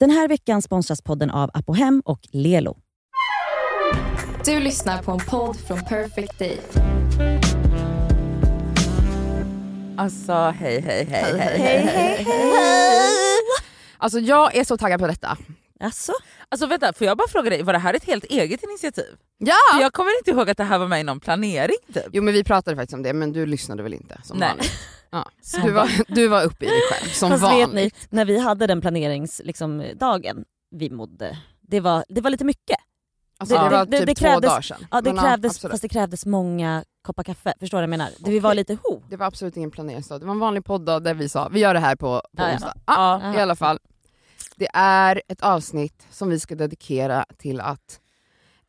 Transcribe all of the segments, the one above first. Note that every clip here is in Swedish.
Den här veckan sponsras podden av Apohem och Lelo. Du lyssnar på en podd från Perfect Day. Alltså hej hej hej hej hej hej, hej! Alltså jag är så taggad på detta. Alltså? Alltså vänta, får jag bara fråga dig, var det här ett helt eget initiativ? Ja! För jag kommer inte ihåg att det här var med i någon planering typ. Jo men vi pratade faktiskt om det men du lyssnade väl inte som Nej. vanligt? Ja. Du, var, du var uppe i dig själv som Fast vanligt. vet ni, när vi hade den planeringsdagen, liksom, dagen, vi mådde, det var, det var lite mycket. alltså, det- det, var det- det- typ det två krävdes- dagar sedan. Ja, det Men krävdes, absolut. fast det krävdes många koppar kaffe, förstår du vad jag menar? Det Vi var Okej. lite ho. det var absolut ingen planeringsdag, det var en vanlig podd där vi sa vi gör det här på, på Ja, ja. onsdag. Ja, Ja. I alla fall, det är ett avsnitt som vi ska dedikera till att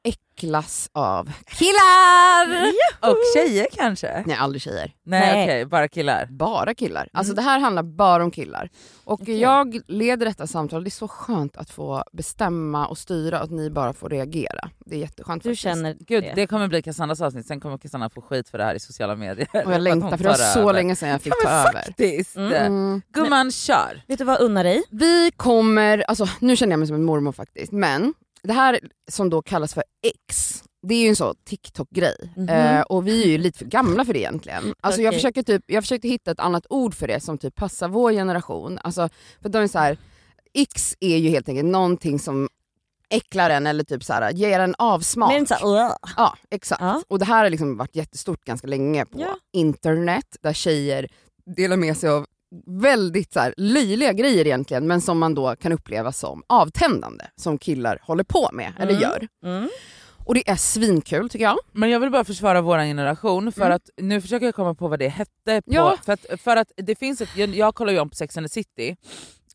äcklas av killar! Och tjejer kanske? Nej aldrig tjejer. Nej Nej. okej, bara killar. bara killar. Alltså det här handlar bara om killar. Och Mm. Okej. jag leder detta samtal, det är så skönt att få bestämma och styra och att ni bara får reagera. Det är jätteskönt Du faktiskt. känner Gud det? det kommer bli Cassandas avsnitt, sen kommer Cassandra få skit för det här i sociala medier. Och jag längtar för det var så länge sedan jag fick Ja, ta men över. faktiskt! Mm. Gumman kör! Vet du vad jag unnar dig? Vi kommer, alltså nu känner jag mig som en mormor faktiskt, men det här som då kallas för X, det är ju en sån TikTok-grej. Mhm. Eh, och vi är ju lite för gamla för det egentligen. Alltså jag, Okej. försöker typ, jag försökte hitta ett annat ord för det som typ passar vår generation. Alltså, för de är så här, X är ju helt enkelt någonting som äcklar en eller typ så här, ger en avsmak. Men det är inte såhär, Ja, exakt. Ja. Och det här har liksom varit jättestort ganska länge på Ja. internet, där tjejer delar med sig av väldigt så här, löjliga grejer egentligen, men som man då kan uppleva som avtändande, som killar håller på med eller Mm. gör. mm. Och det är svinkul tycker jag. Men jag vill bara försvara vår generation för Mm. att nu försöker jag komma på vad det hette. På, Ja. för, att, för att det finns ett, jag, jag kollar ju om på Sex and the City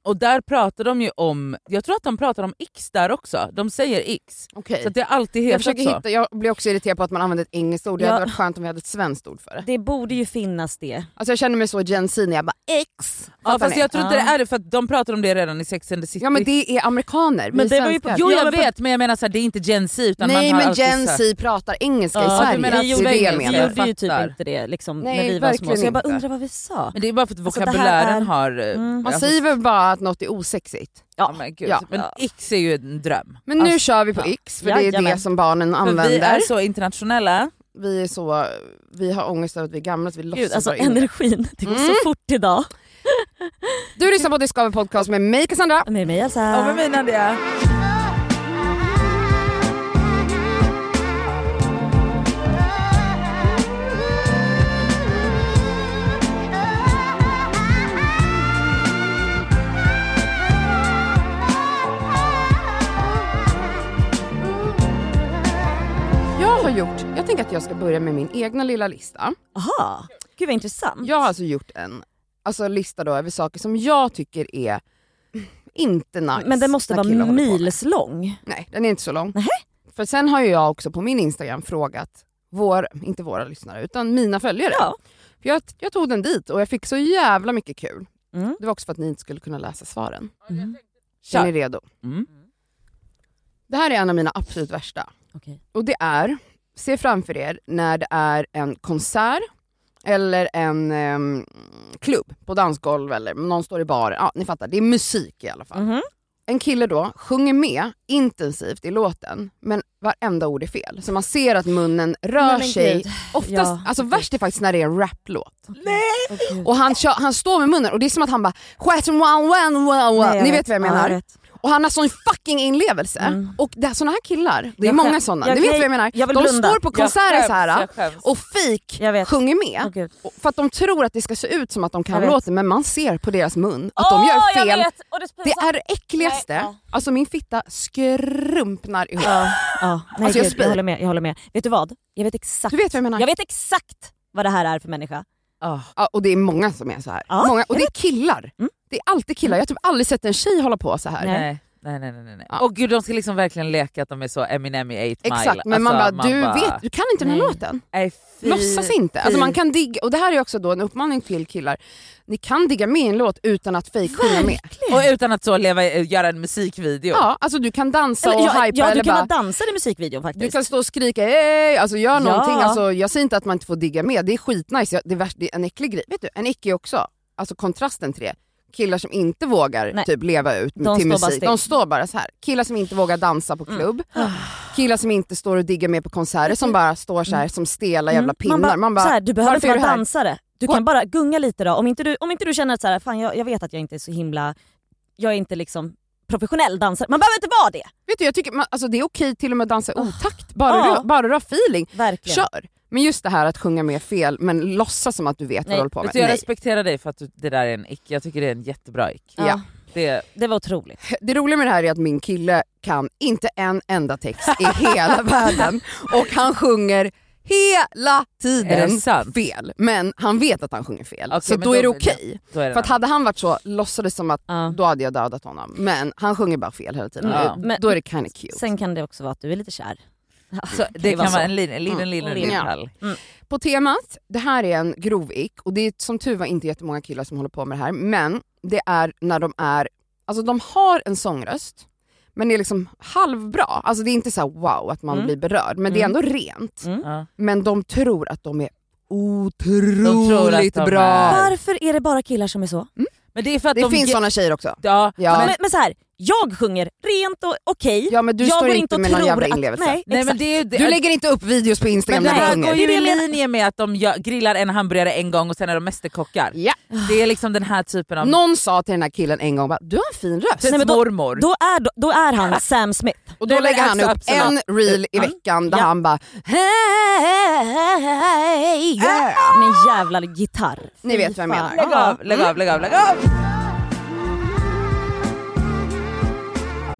och där pratar de ju om, jag tror att de pratar om X där också, de säger X. Okay. Så att det har alltid Eh, Jag, hetat så. försöker hitta, jag blir också irriterad på att man använder ett engelskt ord, det Ja. hade varit skönt om vi hade ett svenskt ord för det. Det borde ju finnas det. Alltså jag känner mig så Gen Z när jag bara X. Ja, Fattar fast ni? jag tror inte Ja. det är det för att de pratar om det redan i Sex and the City. ja men det är amerikaner, Men vi det var ju på- svenskar. Jo Ja, jag men på- vet men jag menar så här, det är inte Gen Z utan Nej man har men alltid Gen så här- Z pratar engelska Ja, i du Sverige. menar att det är det vi- jag Vi menar. Jag gjorde ju typ fattar. inte det liksom, när Nej, vi var små, verkligen så jag bara inte. undrar vad vi sa. Men det är bara för att Alltså, det här vokabulären är- har... Mm. Man alltså, säger väl bara att något är osexigt. ja, men, gud. ja. men X är ju en dröm. Men nu Alltså, kör vi på ja. X för det är Jajamän. det som barnen För vi använder. är så internationella. vi, är så, vi har ångest över att vi är gamla, att vi låtsas Gud, alltså vara yngre. energin, det går så Mm. fort idag. Du lyssnar på Discover Podcast med mig Cassandra. Med mig alltså. Ja men mina det. Jag har gjort, jag tänker att jag ska börja med min egna lilla lista. Aha. Gud vad intressant. Jag har alltså gjort en alltså, lista då över saker som jag tycker är inte nice. men den måste när vara killar håller på med. mils lång. Nej, den är inte så lång. Nähä. För sen har ju jag också på min Instagram frågat, vår, inte våra lyssnare, utan mina följare. Ja. För Jag, jag tog den dit och jag fick så jävla mycket kul. Mm. Det var också för att ni inte skulle kunna läsa svaren. Mm. Är Kör. ni redo? Mm. Det här är en av mina absolut värsta. Okej. Och det är, se framför er när det är en konsert eller en ehm, klubb på dansgolv eller någon står i baren. Ja, ni fattar, det är musik i alla fall. Mhm. En kille då sjunger med intensivt i låten men varenda ord är fel. Så man ser att munnen rör Nej, men sig. gud. Oftast, Ja. alltså värst är faktiskt när det är en raplåt. Åh, gud. Och han, kör, han står med munnen och det är som att han bara "Sköt en wow, wow, wow, wow." Nej, Ni vet vad jag Ja, menar? vet. Och han har sån fucking inlevelse. Mm. Och det, såna här killar, det är Jag många skäm- såna. jag- Ni vet nej, vad jag menar? jag vill de blunda. står på Jag konserter skäms, så här jag skäms. och fake Jag vet. sjunger med. Åh, gud. Och- För att de tror att det ska se ut som att de Jag kan vet. låten men man ser på deras mun att de gör fel. det, är det äckligaste. Nej, ja. Alltså min fitta skrumpnar ihop. Ja, ja. Nej, Alltså, jag gud, jag, spyr. håller med, jag håller med. Vet du vad? Jag vet exakt, Du vet vad jag menar? jag vet exakt vad det här är för människa. Ah. Ja, och det är många som är så här. Ja, många, och jag det är killar. Mm. Det är alltid killar. Jag har typ aldrig sett en tjej hålla på så här. Nej. Nej. Nej nej nej. nej. Ja. Och gud de ska liksom verkligen leka att de är så Eminem i 8 Mile. Exakt, men man bara, Alltså, du vet, du kan inte den här Nej. låten. Nej, fy. Låtsas inte. Alltså man kan digga, och det här är också då en uppmaning till killar. Ni kan digga med i en låt utan att fake sjunga med. Och utan att så leva, eh, göra en musikvideo. Ja, alltså du kan dansa Eller, och ja, hypa ja, du eller kan bara, ha dansat i musikvideon du faktiskt. kan stå och skrika hey! alltså gör Ja. någonting. Alltså, jag säger inte att man inte får digga med, det är skitnice. Jag- Det är, värst, det är en äcklig grej. Vet du, en icke också, alltså kontrasten till det. killar som inte vågar Nej. typ leva ut De till står bara musik. still. Mm. Ah. De står bara så här. killar som inte vågar dansa på klubb, killar som inte står och diggar med på konserter som bara står så här som stela jävla Mm. pinnar. Man bara, Man bara, så här, du behöver "Varför är inte vara du här?" dansare. Du Gå. kan bara gunga lite då. Om inte du, om inte du känner att så här, fan, jag, jag vet att jag inte är så himla, jag är inte liksom professionell dansare. Man behöver inte vara det! vet du, jag tycker man, alltså, det är okej till och med att dansa i Ah. otakt, bara, Ja. du, bara du har feeling, Verkligen. kör. Men just det här att sjunga med fel men låtsas som att du vet vad Nej. du håller på med. Vet du, jag Nej. respekterar dig för att du, det där är en ick, jag tycker det är en jättebra ick. Ja. Det, Det var otroligt. Det roliga med det här är att min kille kan inte en enda text i hela världen och han sjunger hela Är det tiden sant? fel. Men han vet att han sjunger fel, Okej, så men då då är det blir det- okej. då är det För att en- hade han varit så, låtsades som att Ja. då hade jag dödat honom. Men han sjunger bara fel hela tiden. Ja. Men, då är det kinda cute. Sen kan det också vara att du är lite kär. så, Alltså, det ju kan vara vara så. en liten, liten, liten, liten Ja. pall. På temat, det här är en grov ick och det är som tur var inte jättemånga killar som håller på med det här. Men det är när de är, alltså de har en sångröst men det är liksom halvbra. Alltså det är inte så här wow att man Mm. blir berörd men det är Mm. ändå rent. Mm. Ja. Men de tror att de är De tror att otroligt de bra. är- Varför är det bara killar som är så? Men det är för att Det de finns ge- såna tjejer också. ja, Ja. Men, men så här, jag sjunger rent och okej. Ja men du jag står går inte och med någon tror jävla att- inlevelse. Nej, Nej, men exakt. det är ju det, Du lägger inte upp videos på Instagram men det när du här går sjunger. Det är ju det i jag menar. linje med att de gör, grillar en hamburgare en gång och sen är de mästerkockar. Ja. Det är liksom den här typen av... Någon sa till den här killen en gång bara, du har en fin röst. Nej, men då- mormor. Då, är, då- då är han Sam Smith. Och då Nej, men lägger han alltså, upp absolut. en reel i veckan där Ja. han bara Hey, Yeah. Min jävla gitarr. Ni vet Fy vad jag fan. menar. Lägg av, lägg av, lägg av, lägg av!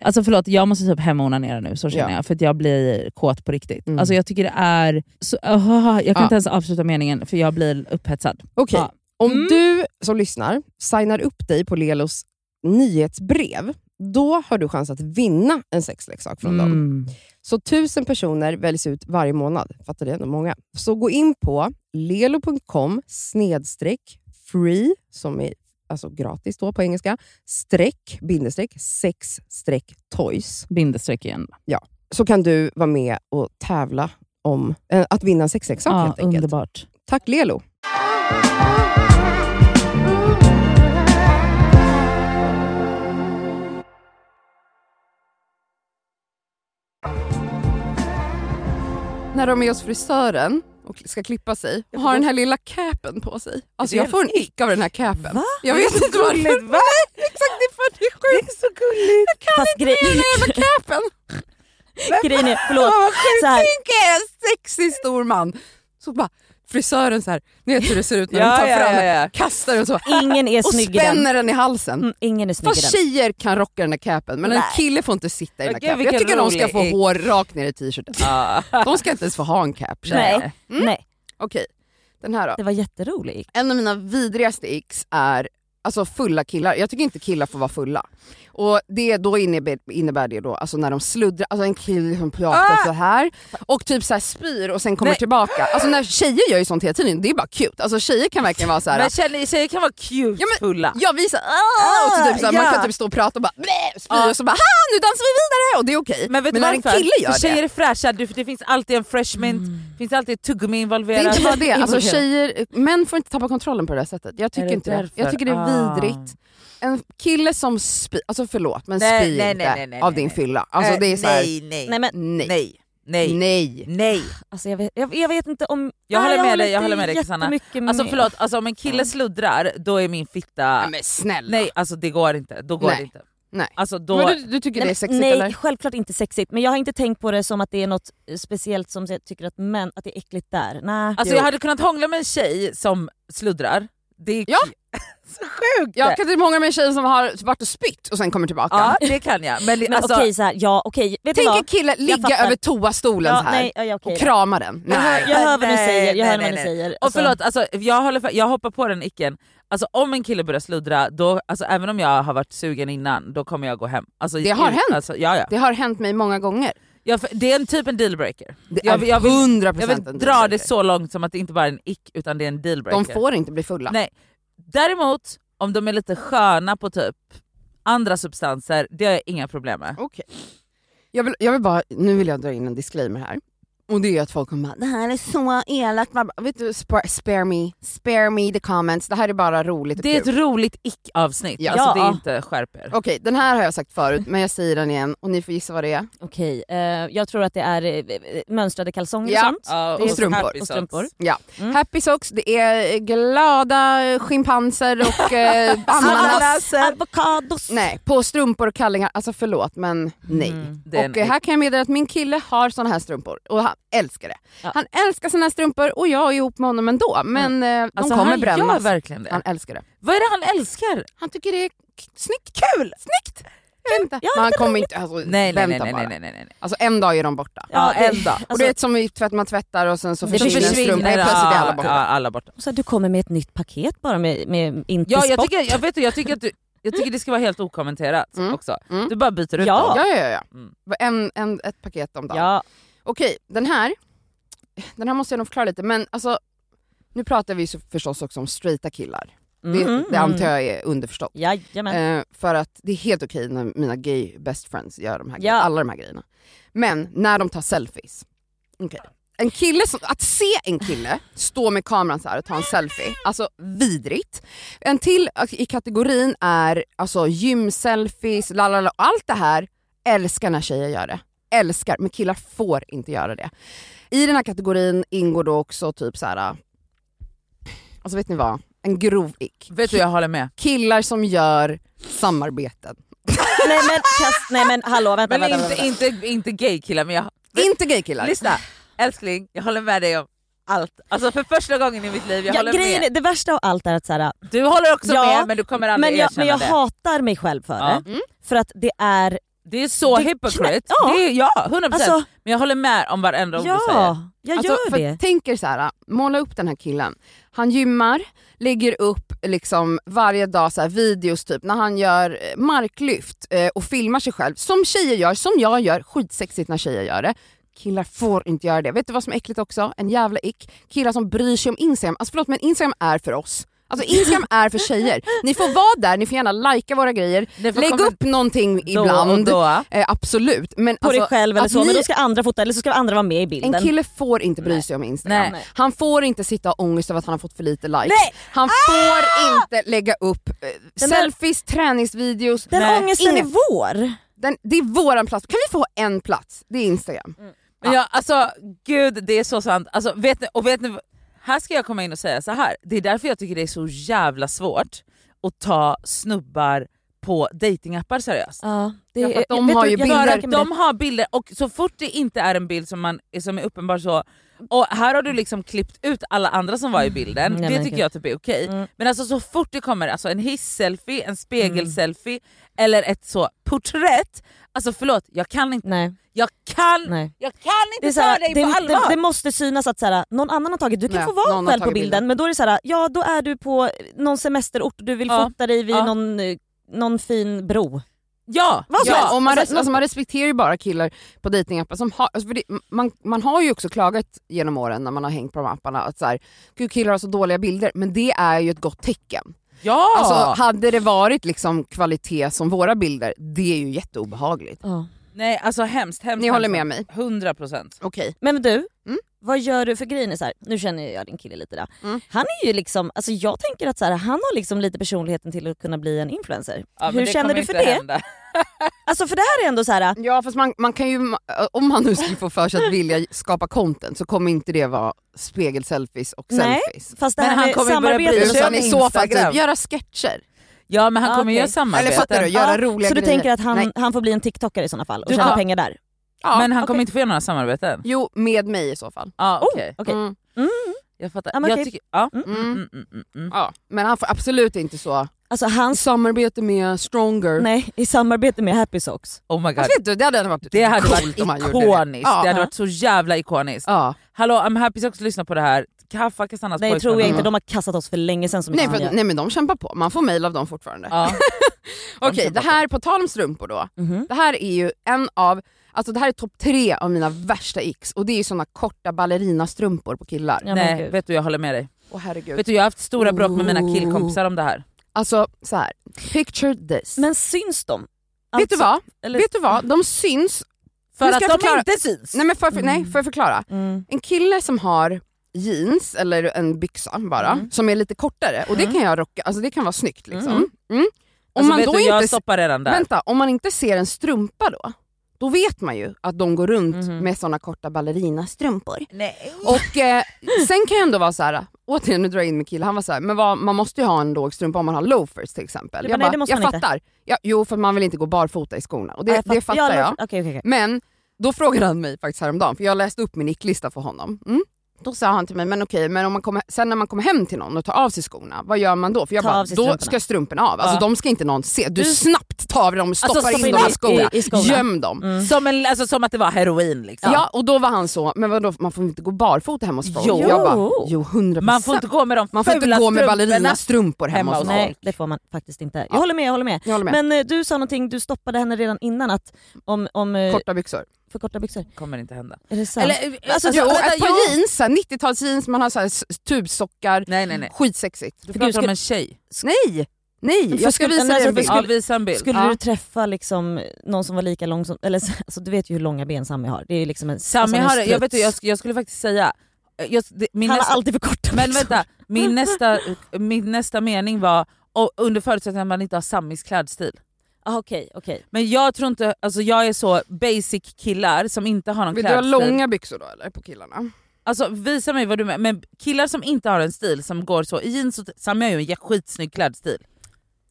Alltså förlåt, jag måste typ hem och onanera nu, så känner Ja. jag. För att jag blir kåt på riktigt. Mm. Alltså jag tycker det är... Så, aha, jag kan Ja. inte ens avsluta meningen för jag blir upphetsad. Okej, Ja. om Mm. du som lyssnar signar upp dig på Lelos nyhetsbrev, då har du chans att vinna en sexleksak från dem. Mm. Så tusen personer väljs ut varje månad. Fattar det är ändå många. Så gå in på lelo.com snedstreck free, som är alltså gratis då på engelska, streck, bindestreck, sex streck toys. Bindestreck igen. Så kan du vara med och tävla om eh, att vinna en sexleksak Ja, helt enkelt. underbart. Tack Lelo! När de är hos frisören och ska klippa sig och har den här lilla capen på sig. Alltså Det är jag får en ick av den här capen. Va? Jag vet inte varför. Va? Exakt, det är för att det är sjukt. Det är så gulligt. Jag kan Fast grej, Capen! grejen är, Åh, förlåt. vad sjukt. Så här. Tänk er en sexig stor man. Så bara frisören så här, ni vet hur det ser ut när de Ja, tar ja, fram ja, den, ja. kastar den så Ingen är och snygg i den. spänner den i halsen. Mm, ingen är snygg i Fast den. tjejer kan rocka den här capen men en Nej. kille får inte sitta i den här Okej, capen. Jag vilken tycker de ska rolig få ick. hår rakt ner i t-shirten. De ska inte ens få ha en cap. känner jag. Nej, Mm. nej, Okej, den här då. det var jätteroligt. En av mina vidrigaste icks är alltså fulla killar. Jag tycker inte killar får vara fulla. Och det då innebär, innebär det då alltså när de sluddrar, alltså en kille som pratar Ah! så här och typ så här spyr och sen kommer tillbaka. Alltså när tjejer gör ju sånt hela tiden, det är bara cute. Alltså tjejer kan verkligen vara så här. tjejer, kan vara cute Ja, men- fulla. Jag visar, ah, och så typ så här, man ja. kan typ stå och prata och bara bleh, spy och så bara ha, nu dansar vi vidare och det är okej. Ah. Men vet du när en varför? kille gör För tjejer det, är fräscha, du- för det finns alltid en fresh mint, det finns alltid ett tuggummi det är involverat. inte bara det. Alltså Involverat. tjejer, män får inte tappa kontrollen på det här sättet. Jag tycker det inte det. därför? Jag tycker det är Ah. vidrigt. En kille som spyr, alltså förlåt men Nej, spy nej, inte nej, nej, nej, av nej, din nej. fylla. Alltså Eh, det är så här, Nej, nej, Nej, nej, men, nej. Nej. nej. nej. alltså, jag, vet, jag, jag vet inte om... Jag håller Nej, med dig, jag håller med dig, Susanna. jättemycket med. Alltså förlåt, alltså, om en kille sluddrar då är min fitta... Nej, men snälla. Nej alltså det går inte, då går Nej. det inte. Nej. Alltså, då... Men du, du tycker det är Nej, sexigt nej eller? självklart inte sexigt men jag har inte tänkt på det som att det är något eh, speciellt som jag tycker att män, att det är äckligt där. Nej. Alltså jag hade kunnat hångla med en tjej som sluddrar. Det är Ja. så sjukt! Jag kan inte många med tjejer som har varit och spytt och sen kommer tillbaka. Ja det kan jag. Men, men alltså, okej så här, ja okej. Vet du Tänk en vad? kille ligga fattar. över toastolen Ja, så här nej, ja, okej och då. krama den. jag hör, Nej. jag hör vad ni Nej, säger. Jag nej, hör vad nej, ni nej. säger. Och förlåt, alltså, jag, håller, för- jag hoppar på den icken. Alltså, om en kille börjar sluddra, då, alltså, även om jag har varit sugen innan, då kommer jag gå hem. Alltså, Det har ut- hänt. Alltså, ja, ja. Det har hänt mig många gånger. Jag, för- det är en typ en dealbreaker. Det Jag är vill- jag vill- 100 Jag vill procent en dra det dealbreaker. så långt som att det inte bara är en ick utan det är en dealbreaker. De får inte bli fulla. Nej. Däremot, om de är lite sköna på typ andra substanser, det har jag inga problem med. Okej. Jag vill, jag vill bara, nu vill jag dra in en disclaimer här. Och det är att folk kommer bara, det här är så elakt. Man bara, Vet du, spare, spare me, spare me the comments. Det här är bara roligt och Det är ett kul. roligt ick-avsnitt, Ja. alltså, det Ja. är inte skärp er. Okej, den här har jag sagt förut men jag säger den igen och ni får gissa vad det är. Okej, eh, jag tror att det är eh, mönstrade kalsonger Ja. och sånt. Ja, och strumpor. happy Och strumpor. socks. Ja. Mm. Happy socks, det är glada schimpanser och eh, ananas. Avokados. Mm. Nej, på strumpor och kallingar, alltså förlåt men nej. Det är och en eh, här kan jag meddela att min kille har såna här strumpor och han älskar det. Ja. Han älskar sina strumpor och jag är ihop med honom ändå men eh, de Alltså, kommer han gör brännas. verkligen det. Han älskar det. Vad är det han älskar? Han tycker det är k- snyggt. Kul! Snyggt! Vänta. Men han kommer inte, alltså, Nej nej nej, vänta nej bara. nej nej nej nej. Alltså en dag är de borta. Ja, det- en dag. och Alltså, det är som i tvätt, man tvättar och sen så Det försvinner en försvinner, strumpa, helt ja, plötsligt är alla borta. Ja, alla borta. så här, du kommer med ett nytt paket bara med, med inte Ja, jag, spott. tycker, jag, vet, du, jag, tycker att du, jag tycker det ska vara helt okommenterat Mm. också. Mm. Du bara byter ut Ja. dem. Ja, ja, ja. Mm. ja. En, en, ett paket om dagen. Ja, Okej, den här. Den här måste jag nog förklara lite men alltså nu pratar vi ju så- förstås också om straighta killar. Det, Mm. det antar jag är underförstått. Jajamän. Eh, för att det är helt okej när mina gay best friends gör de här Ja. grejerna, alla de här grejerna. Men när de tar selfies. Okej. En kille som, att se en kille stå med kameran så här och ta en selfie, alltså vidrigt. En till i kategorin är alltså gymselfies, lalala, allt det här älskar när tjejer gör det. Älskar, men killar får inte göra det. I den här kategorin ingår då också typ så här. alltså vet ni vad? en grov ick. Vet du, jag håller med. Killar som gör samarbeten. Nej men, kast, nej, men hallå vänta. Men vänta, inte, vänta. inte, inte gay-killar, men jag... Inte gaykillar. Lyssna, älskling, jag håller med dig om allt. Alltså för första gången i mitt liv, jag Ja, håller grejen med. är, det värsta av allt är att så här, Du håller också Ja, med men du kommer aldrig men jag, erkänna men jag det. hatar mig själv för Ja. Mm. det. För att det är... Det är så Det är hypocrite. knä- ja. Det är, ja, 100%. Alltså, men jag håller med om varenda ord du säger. ja, jag Alltså, gör för det. Tänk er så här, måla upp den här killen. Han gymmar, lägger upp liksom varje dag så här videos typ när han gör eh, marklyft eh, och filmar sig själv. Som tjejer gör, som jag gör. Skitsexigt när tjejer gör det. Killar får inte göra det. Vet du vad som är äckligt också? En jävla ick. Killar som bryr sig om Instagram. Alltså förlåt men Instagram är för oss. Alltså Instagram är för tjejer. Ni får vara där, ni får gärna lajka våra grejer. Det får Lägg komma upp någonting då och ibland. Då. Eh, absolut. Men På dig alltså, själv eller att så, ni- men då ska andra fota eller så ska andra vara med i bilden. en kille får inte bry sig om Instagram. Nej. Han får inte sitta och ångest över att han har fått för lite likes. Nej! Ah! Han får inte lägga upp eh, Den där- selfies, träningsvideos. Den Nej, ångesten ingen- är vår. Den, det är våran plats. Kan vi få en plats? Det är Instagram. Mm. Men jag, alltså gud det är så sant. Alltså, vet ni, och vet ni, vad- här ska jag komma in och säga så här. det är därför jag tycker det är så jävla svårt att ta snubbar på datingappar seriöst. Ja, det Ja, för att de vet har du, ju jag bilder. försöker För med att det. de har bilder och så fort det inte är en bild som, man, som är uppenbar så, och här har du liksom klippt ut alla andra som var i bilden, Mm, nej, det men tycker gud. jag typ är okej. Mm. Men alltså så fort det kommer alltså en hiss-selfie, en spegel-selfie Mm. eller ett så porträtt, alltså förlåt jag kan inte, Nej, jag kan, nej. jag kan inte så här, ta dig det, på allvar! det, det måste synas att så här, någon annan har tagit, du kan Nej, få någon vara har själv på tagit bilden, bilden. men då är det så här, ja då är du på någon semesterort och du vill Ja, fota dig vid ja. någon, eh, någon fin bro. Ja! Vad som ja. helst. och man, Alltså, res- alltså, man respekterar ju bara killar på dejtingappar som har, alltså, för det, man, man har ju också klagat genom åren när man har hängt på de här apparna att så här, gud killar har så dåliga bilder, men det är ju ett gott tecken. ja. Alltså hade det varit liksom kvalitet som våra bilder, det är ju jätteobehagligt. Ja. Nej alltså hemskt, hemskt. Ni håller med hemskt. mig? 100%. Okej. Men du, Mm. vad gör du för grejen är så här, nu känner jag din kille lite där. Mm. Han är ju liksom, alltså jag tänker att så här, han har liksom lite personligheten till att kunna bli en influencer. Ja, men Hur det känner kommer du för inte det? hända. Alltså för det här är ändå så här, Ja fast man, man kan ju, om man nu skulle få för sig att vilja skapa content så kommer inte det vara spegelselfies och Nej. selfies. fast det Men här han med kommer ju börja bry samarbete sig och Utan om så- i så fall Instagram. typ, göra sketcher. Ja men han Ja, kommer Ah, okej. göra samarbete. Eller fattar du? Göra Ja, roliga Så du grejer. tänker att han, Nej. han får bli en TikTokare i sådana fall och Du tjäna kan- pengar där? Ja. men han kommer okej. inte få göra några samarbeten? Jo, med mig i så fall. Ja Oh, okej, okej. Mm. jag fattar. Ja, men jag okej. tycker, ja. Mm. Mm, mm, mm, mm. Ja. Men han får absolut inte så. Alltså hans, Samarbete med Stronger. nej, i samarbete med Happy Socks. Oh my god. Alltså, vet du, det hade ändå varit Det hade coolt varit om han gjorde det. ikoniskt, Ja. det hade varit så jävla ikoniskt. Ja. Hallå I'm happy sex, lyssna på det här. Kaffa Kasannas Nej pojkvän. tror jag inte, Mm. de har kastat oss för länge sedan som Nej, han gör. för, nej men de kämpar på, man får mail av dem fortfarande. Ja. Okej, de det kämpar här, på tal om strumpor då. Mhm. Det här är ju en av, alltså det här är topp tre av mina värsta x och det är ju såna korta ballerinastrumpor på killar. Ja, men Nej gud. vet du jag håller med dig. Åh herregud. Vet du jag har haft stora bråk med mina killkompisar om det här. Alltså så här. picture this. Men syns de? Alltså, vet, alltså, du vad? eller- vet du vad, de syns, För Nu att ska de jag förklara- inte syns! nej men för, för, nej, får jag förklara? Mm. En kille som har jeans eller en byxa bara, Mm. som är lite kortare och det kan jag rocka, alltså det kan vara snyggt liksom. Mm. Om Alltså, man vet då du, jag inte stoppar redan där. Vänta, om man inte ser en strumpa då, då vet man ju att de går runt med såna korta ballerinastrumpor. Nej. Och eh, sen kan jag ändå vara så här. återigen nu drar jag in min kille, han var så här, men vad, man måste ju ha en låg strumpa om man har loafers till exempel. Du bara, Jag, nej, bara, det måste jag man inte. fattar. Ja, jo för man vill inte gå barfota i skorna och det, Ja, jag det fatt- ja, fattar jag. Okej okej okej. Men då frågade han mig faktiskt häromdagen, för jag läste upp min icklista för honom. Mm. Då sa han till mig, men okej, men om man kommer, sen när man kommer hem till någon och tar av sig skorna, vad gör man då? För jag Ta bara, av sig då strumporna. ska strumporna av. Alltså Ja. de ska inte någon se. Du, Du- snabbt tar av dem och stoppar stoppa in in dem i, i- skorna. i- i skorna. Göm dem. Som, en, alltså, som att det var heroin liksom. Ja. och då var han så, men vadå man får inte gå barfota hemma hos folk? Jo. Jag bara, jo 100%. Man får inte gå med de man får inte fula gå med strumporna. ballerinastrumpor hemma, hemma hos hos någon. Nej det får man faktiskt inte. Jag håller med, jag håller med. Jag håller med. Men eh, du sa någonting, du stoppade henne redan innan att om, om eh, Korta byxor. för korta byxor. kommer inte hända. Är det sant? Eller, Alltså, alltså, och vänta, ett par jag- jeans, så här 90-talsjeans, man har så här s- tubsockar, Nej nej nej. skitsexigt. Du För pratar skulle- om en tjej. Nej! Nej, jag ska skulle- visa nej, dig en alltså, bild. skulle- Ja visa en bild. Skulle Ja. du träffa liksom någon som var lika lång som, eller så- alltså, du vet ju hur långa ben Sami har. Det är ju liksom en, Sami alltså, en har, jag, vet, struts. jag, sk- jag skulle faktiskt säga, eh, jag, det, min Han har nästa, alltid för korta men byxor. vänta, min nästa, min nästa mening var och under förutsättning att man inte har Samis klädstil. Ah, okej, okej. Men jag tror inte, alltså jag är så basic killar som inte har någon Vill du ha klädstil. långa byxor då eller på killarna? Alltså visa mig vad du menar, men killar som inte har en stil som går så, i jeans och Sami har ju en jä- skitsnygg klädstil.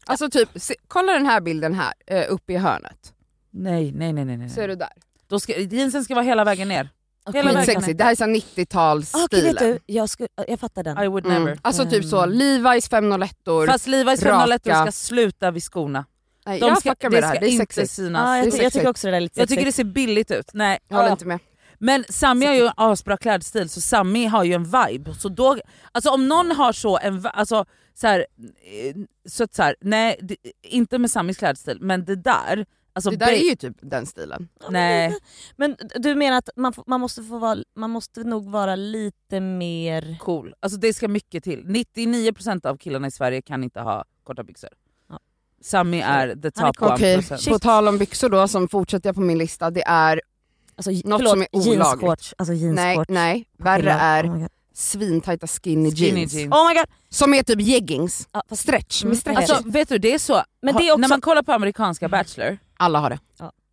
Alltså typ, se, kolla den här bilden här, eh, uppe i hörnet. Nej nej nej nej. Ser nej. du där? Då ska, jeansen ska vara hela vägen ner. Hela vägen Skitsexigt, det här är så här 90-talsstilen. Ah, Okej typ- vet du, jag, skulle, jag fattar den. ner. I would never. Mm. Alltså typ så, Levi's 501or. Fast Levi's 501 Raka. ska sluta vid skorna. Nej, De jag ska, fuckar med det ska här, det är inte sexigt. synas. Ja, det är Ah, jag, ty- jag sexigt. tycker också det där är lite Jag tycker det sexigt. ser billigt ut. Nej. Jag håller ah. inte med. Men Sami har ju en asbra klädstil så Sami har ju en vibe. Så då, alltså om någon har så en vi- alltså, så här, eh, så att så här, nej det, inte med Samis klädstil men det där, alltså Det där ba- är ju typ den stilen. nej. Men du menar att man, får- man, måste, få vara, man måste nog vara lite mer... cool. Alltså det ska mycket till. 99% av killarna i Sverige kan inte ha korta byxor. Ja. Sami är the Han är top kort. 1%. Okej, Shit. på tal om byxor då som fortsätter jag på min lista, det är, Alltså, Något förlåt, som är olagligt. jeansshorts. Alltså nej, jeansshorts. nej, värre Killar. är Oh my god. svintajta skinny, Skinny jeans. jeans. Oh my god. Som är typ jeggings, Ja, fast- stretch, Mm, med stretch. okej. Alltså vet du det är så, Men ha- det är också- Mm. när man kollar på amerikanska Bachelor, Alla har det.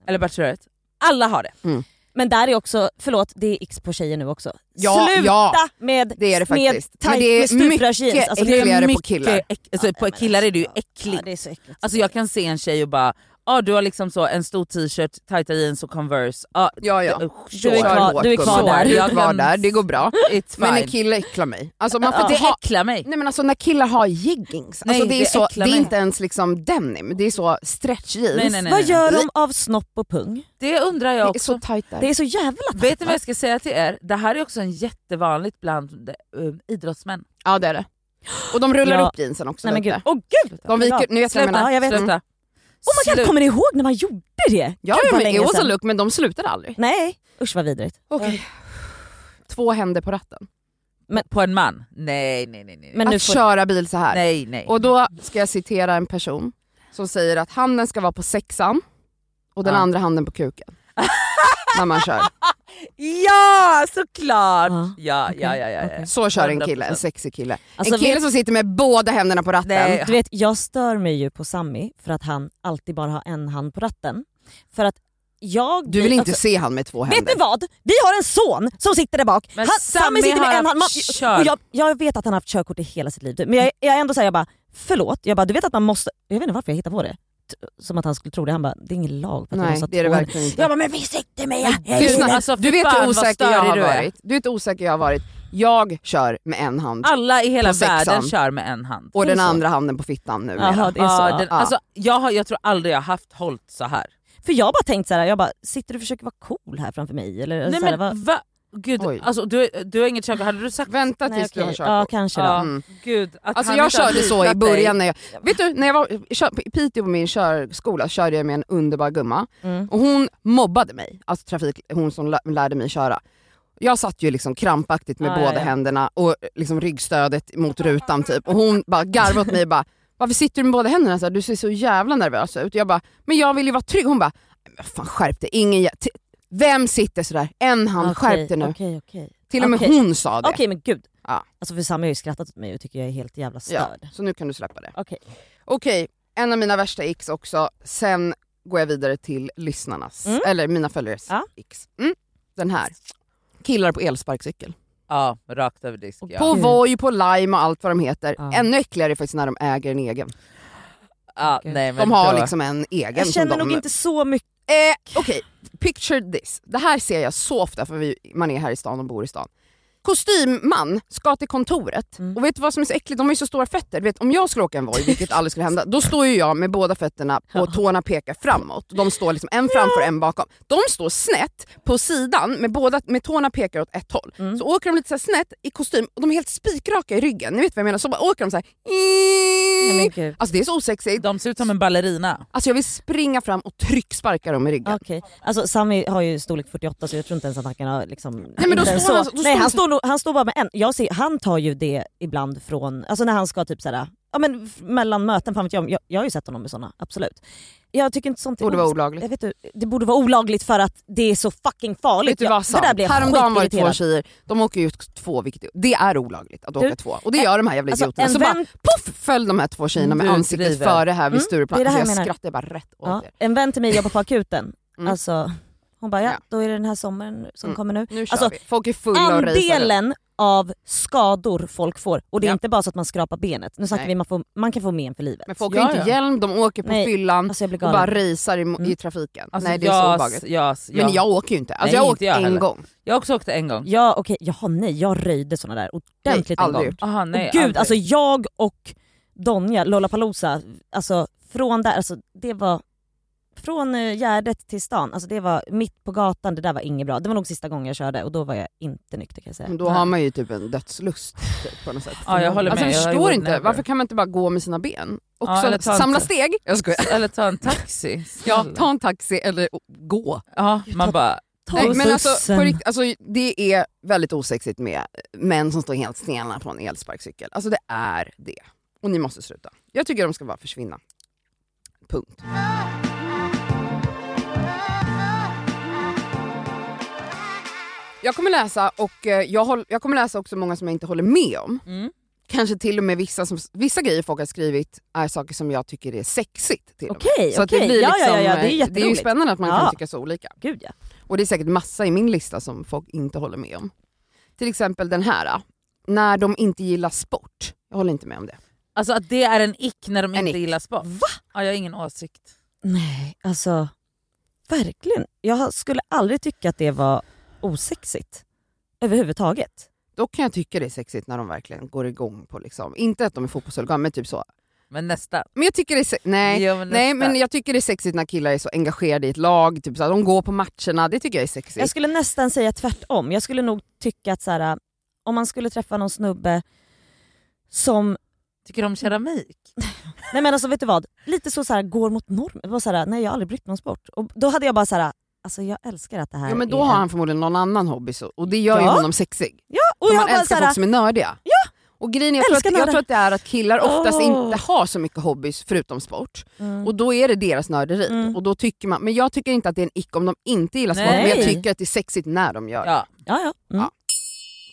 eller Bachelorette, alla har det. Men där är också, förlåt det är x på tjejer nu också. Ja, Sluta ja, med, det är med, det faktiskt. Men tajt, det är med stuprörsjeans. mycket Alltså, Det det är, är Ytterligare på mycket killar. äck- alltså, Ja, på men killar är det ju alltså, ja, äckligt. det är så äckligt. Alltså jag kan se en tjej och bara ah, du har liksom så en stor t-shirt, tajta jeans och Converse. Ah, Ja, ja. d- Du är Kör kvar- hårt, du är kvar gumman. där. Du är Jag kvar kan- där, det går bra. It's fine. Men en kille äcklar mig. Alltså man får det inte ha äcklar mig. Nej men alltså när killar har jeggings, Nej, alltså det, är det så, det äcklar är mig. inte ens liksom denim, det är så stretch jeans. Nej, nej, nej, Vad nej. gör de av snopp och pung? Det undrar Det jag är också. så tajt där. Det är så jävla Vet ni vad jag ska säga till er? Det här är också en jättevanligt bland eh, idrottsmän. Ja det är det. Och de rullar Ja. upp jeansen också Nej men gud, lite. åh gud! De viker, ni vet vad jag Sluta, menar. Mm. Ja, jag vet. sluta. Mm. Oh my god, Slut. kommer ni ihåg när man gjorde det? Ja, Gud, ja vad men länge it was a sedan. look men de slutade aldrig. Nej, usch vad vidrigt. Okej. Två händer på ratten. På en man? Nej nej nej. nej. Men nu att får... köra bil så här. nej, nej. Och då ska jag citera en person som säger att handen ska vara på sexan och den Ja. andra handen på kuken. när man kör. Ja såklart! Ja, Ja, ja, ja, ja, ja. Så kör en kille, en sexig kille. Alltså, en kille vet- som sitter med båda händerna på ratten. Nej. Du vet, jag stör mig ju på Sammy för att han alltid bara har en hand på ratten. För att jag... Du vill inte alltså, se han med två händer. Vet ni vad? Vi har en son som sitter där bak. Men Han, Sammy Sammy sitter har med en hand. Man, haft kör. och jag, jag vet att han har haft körkort i hela sitt liv. Men jag, jag är ändå såhär, jag bara förlåt. Jag bara, du vet att man måste... Jag vet inte varför jag hittar på det. T- Som att han skulle tro det. Han bara, det är ingen lag för att man Nej måste ha det är det två händer." verkligen inte. Jag bara, men vi sitter med Du, jag- Lyssna. snack, Alltså, du fy vet fan, hur vad osäker jag störig har du är. varit. Du vet hur osäker jag har varit. Jag kör med en hand Alla i hela På sexan. världen kör med en hand. och Ah, det är den så. andra handen på fittan nu. Jaha, det är så. Ja, ja. den, Ja. Alltså, jag, har, jag tror aldrig jag har haft hållt så här. För jag har bara tänkt så här, jag bara, sitter du och försöker vara cool här framför mig? Eller, Nej så här, men vad- va? Gud, Oj. alltså, du, du har inget körkort, hade du sagt Vänta tills Nej, du har okej. Ja körkort. kanske då. Ja. Mm. gud att Alltså han jag inte har körde så i litat början dig? när jag, vet du när jag var kör, i Piteå på min körskola körde jag med en underbar gumma Mm. och hon mobbade mig, alltså trafik, hon som lä- lärde mig köra. Jag satt ju liksom krampaktigt med Ja, båda ja, ja. händerna och liksom ryggstödet mot rutan typ och hon bara garvade åt mig och bara varför sitter du med båda händerna så här? Du ser så jävla nervös ut. Jag bara, men jag vill ju vara trygg. Hon bara, "Men vad fan skärp dig. Ingen, jä- t- vem sitter sådär? En hand, skärp dig nu. Okej okej. Till och med okej. hon sa det. Okej men gud. Ja. Alltså för Sami har ju skrattat åt mig och tycker jag är helt jävla ja, störd. så nu kan du släppa det. Okej. Okej, en av mina värsta x också. Sen går jag vidare till lyssnarnas, Mm. eller mina följares Ja. x. Mm. Den här. Killar på elsparkcykel. Ja, rakt över disk ja. På Mm. Voi, på Lime och allt vad de heter. Ja. Ännu äckligare är faktiskt när de äger en egen. ja Gud. nej, men De har då- liksom en egen Jag känner som de... nog inte så mycket. Eh, Okej, picture this. Det här ser jag så ofta för vi, man är här i stan och bor i stan. Kostymman ska till kontoret Mm. och vet du vad som är så äckligt? De har ju så stora fötter. Du vet, om jag skulle åka en Voi, vilket aldrig skulle hända, då står ju jag med båda fötterna och tårna pekar framåt. De står liksom en framför och en bakom. De står snett på sidan med, båda, med tårna pekar åt ett håll. Mm. Så åker de lite så här snett i kostym och de är helt spikraka i ryggen. Ni vet vad jag menar? Så bara åker de så här. men gud. Alltså det är så osexigt. De ser ut som en ballerina. Alltså jag vill springa fram och trycksparka dem i ryggen. Okej. Alltså Sami har ju storlek 48 så jag tror inte ens att han kan ha liksom... Nej men då står han så- Nej då står han han så- står, nog- han står bara med en. Jag ser, han tar ju det ibland från, alltså när han ska typ såhär, ja men f- mellan möten, fan vet jag, om- jag, jag har ju sett honom med sådana, absolut. Jag tycker inte sånt Borde vara os- olagligt. Jag vet, du, det borde vara olagligt för att det är så fucking farligt. Vet du Jag- vad det där sant? blev jag Häromdagen var det två skitirriterad. tjejer, de åker ju ut två vilket det är olagligt att Du, åka två. Och det gör de här jävla alltså, idioterna. en Så vän- bara poff föll de här två tjejerna med Du ansiktet driver. före här vid Mm, Stureplan. det är det här alltså, jag jag menar. skrattade bara rätt åt Ja, er. en vän till mig jobbar på akuten. Mm. Alltså, Hon bara ja, Ja. då är det den här sommaren som Mm. kommer nu. Nu kör Alltså, vi. Folk är fulla och rejsar. Andelen av skador folk får, och det är Ja. inte bara så att man skrapar benet. Nu snackar Nej. vi man, får, man kan få men för livet. Men folk Ja, har inte ja. hjälm, de åker på Nej. fyllan Alltså jag blir och bara galen. rejsar i, Mm. i trafiken. Alltså, Nej det är så jas, obagligt. jas, ja. Men jag åker ju inte. Alltså, Nej, jag har inte åkt jag en heller. gång. Jag har också åkt en gång. Ja okej, jaha nej jag röjde såna där ordentligt Nej, en gång. aldrig gjort. Aha, nej, och gud aldrig. alltså jag och Donja, Lollapalooza, alltså från där, alltså det var från eh, Gärdet till stan, alltså det var mitt på gatan, det där var inget bra. Det var nog sista gången jag körde och då var jag inte nykter kan jag säga. Men då har man ju typ en dödslust typ, på något sätt. Ja, jag håller Alltså med. jag Jag har förstår gjort inte, never. varför kan man inte bara gå med sina ben? Också Ja, eller ta en samla t- steg. Jag skojar. Eller ta en taxi. Ja, snälla. ta en taxi eller gå. ja, man bara... Ta Nej, men alltså, bussen. på rikt, alltså, det är väldigt osexigt med män som står helt stela på en elsparkcykel. Alltså det är det. Och ni måste sluta. Jag tycker de ska bara försvinna. Punkt. Jag kommer läsa och eh, jag, håll, jag kommer läsa också många som jag inte håller med om. Mm. Kanske till och med vissa, som, vissa grejer folk har skrivit är saker som jag tycker är sexigt. Till och med. Okej, Så att det okej. blir ja, ja, ja, ja, det är liksom, eh, det är ju jätteroligt. spännande att man Ja. kan tycka så olika. Gud ja. Och det är säkert massa i min lista som folk inte håller med om. Till exempel den här. eh, När de inte gillar sport. Jag håller inte med om det. Alltså att det är en ick när de En inte ick. gillar sport. Va? Ja, jag har ingen åsikt. Nej, alltså verkligen. Jag skulle aldrig tycka att det var osexigt. Överhuvudtaget. Då kan jag tycka det är sexigt när de verkligen går igång på liksom, inte att de är fotbollshuligan men typ så. Men nästa. Men jag tycker det är se- nej. Jo, men nästa. Nej men jag tycker det är sexigt när killar är så engagerade i ett lag, typ så här, de går på matcherna, det tycker jag är sexigt. Jag skulle nästan säga tvärtom. Jag skulle nog tycka att så här, om man skulle träffa någon snubbe som, Tycker du om keramik? nej men alltså vet du vad, lite så, så här, går mot normen. Det var så här, nej jag har aldrig brytt mig om sport. Och då hade jag bara så här, alltså jag älskar att det här Ja men då är har en- han förmodligen någon annan hobby så, och det gör Ja. ju honom sexig. Ja, och För jag man bara så älskar folk här, som är nördiga. Ja. Och grejen är, jag, tror Älskar att, jag nördar. tror att det är att killar oftast Åh. inte har så mycket hobbys förutom sport. mm, Och då är det deras nörderi. Mm. Och då tycker man, men jag tycker inte att det är en ick om de inte gillar sport, men jag Nej. tycker att det är sexigt när de gör det. Ja. ja, ja. Mm. Ja.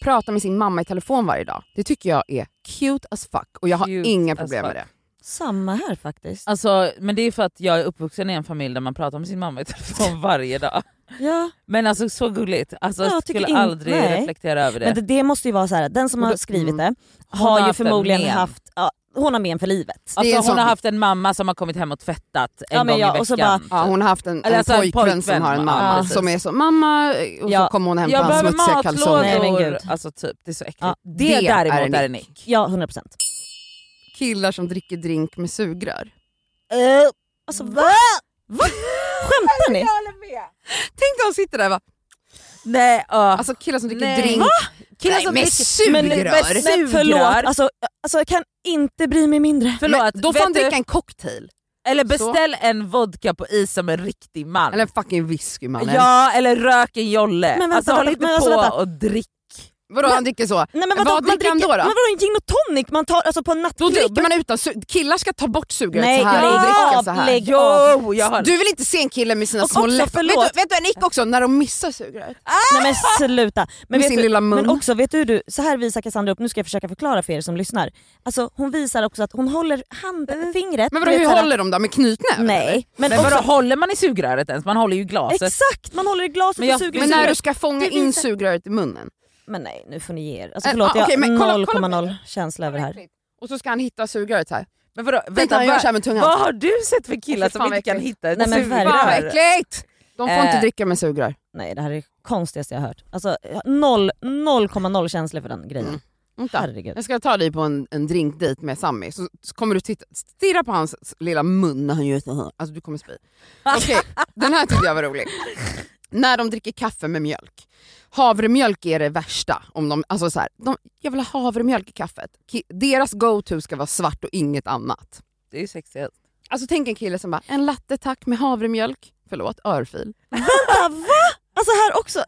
Prata med sin mamma i telefon varje dag. Det tycker jag är cute as fuck och jag har Cute inga as problem med fuck. det. Samma här faktiskt. Alltså, men det är för att jag är uppvuxen i en familj där man pratar med sin mamma i telefon varje dag. Ja. Men alltså så gulligt. Alltså, Ja, jag jag tycker skulle in- aldrig nej. reflektera över det. Men det, det måste ju vara så här. den som Och då- mm. har skrivit det Hon har har ju haft en förmodligen men. haft, ja, hon har men för livet. det är en alltså, hon sån- har haft en mamma som har kommit hem och tvättat en Ja, men gång i ja, veckan. och så bara- Ja, hon har haft en, en Eller alltså en pojkvän, som pojkvän, har en ja, mamma precis. som är så mamma och Ja. så kommer hon hämta jag hans behöver smutsiga matlådor. kalsonger. Nej, men gud. Alltså typ, det är så äckligt. Ja, det, det däremot är är en en, ick. Ja, 100%. procent. Killar som dricker drink med sugrör. alltså va? va? Skämtar ni? Tänk när de sitter där och bara, Nej, uh, alltså killar som dricker Nej. drink killar Nej, som med dricker- sugrör. Men- med Men Men förlåt, sugrör. alltså, alltså jag kan inte bry mig mindre. Förlåt, men, då får vet han du- dricka en cocktail. Eller beställ en vodka på is som en riktig man. Eller en fucking whisky mannen. ja, eller rök en jolle. Men vänta, alltså håll men inte alltså, på vänta. och drick. Vadå han dricker så? Nej, men Vad dricker han då, då? Men vadå en gin och tonic man tar alltså på en Då nattklubb? dricker man utan su- Killar ska ta bort sugröret Nej, så här och lägg dricka av, så här. lägg Jo, av. jag har... Du vill inte se en kille med sina Och små också, läppar. Vet förlåt. du, vet du en nick också? När de missar sugröret. Nej men sluta. Men, med vet sin du, lilla mun. men också, vet du, hur du så här visar Cassandra upp, nu ska jag försöka förklara för er som lyssnar. Alltså hon visar också att hon håller handen, fingret. men vadå, du hur vet, så här- håller de då? Med knytnäven? eller? Nej. Men, Men också, vadå, håller man i sugröret ens? Man håller ju i glaset. Exakt, man håller i glaset Men jag- och suger i Men när du sugröret. ska fånga Det in visar- sugröret i munnen. Men nej nu får ni ge er. Alltså, Äh, förlåt ah, okej, men jag kolla- har kolla på- 0,0 känsla över det här. Och så ska han hitta sugröret här. Men vadå, Tänk vänta, när han gör vad, såhär med tungan. vad har du sett för killar Fy som fan, inte vad kan äckligt. hitta ett Nej, men sugrör? Fan vad verkligen. äckligt! De får inte Eh. dricka med sugrör. Nej det här är det konstigaste jag har hört. Alltså jag har noll- 0,0 känslor för den grejen. Mm. Vänta. Herregud. Jag ska ta dig på en, en drinkdejt med Sammy, så, så kommer du titta, stirra på hans lilla mun när han gör så här. Alltså du kommer spy. Okej, den här tyckte jag var rolig. När de dricker kaffe med mjölk. Havremjölk är det värsta. Om de, alltså så här, de, jag vill ha havremjölk i kaffet. Ki- Deras go-to ska vara svart och inget annat. Det är ju sexigt. Alltså tänk en kille som bara, en latte tack med havremjölk. Förlåt, örfil. Vänta va? Alltså här också, 0,0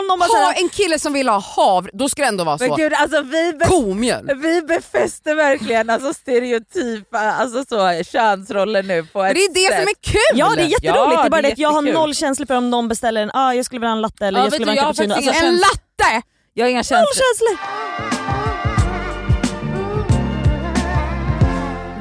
om någon bara Ha såhär, en kille som vill ha havre, då ska det ändå vara Men så. gud, alltså vi, be- Komjölk. vi befäster verkligen alltså, stereotypa alltså, så, könsroller nu på Men ett Det är det sätt. som är kul! ja det är jätteroligt, Ja, det är bara det det är att jag har jättekul. noll känslor för om någon beställer en, ah, jag skulle vilja ha en latte eller Ja, jag vet skulle du, vilja ha en jag har cappuccino. faktiskt Alltså, En latte! Jag har inga noll känslor. känslor!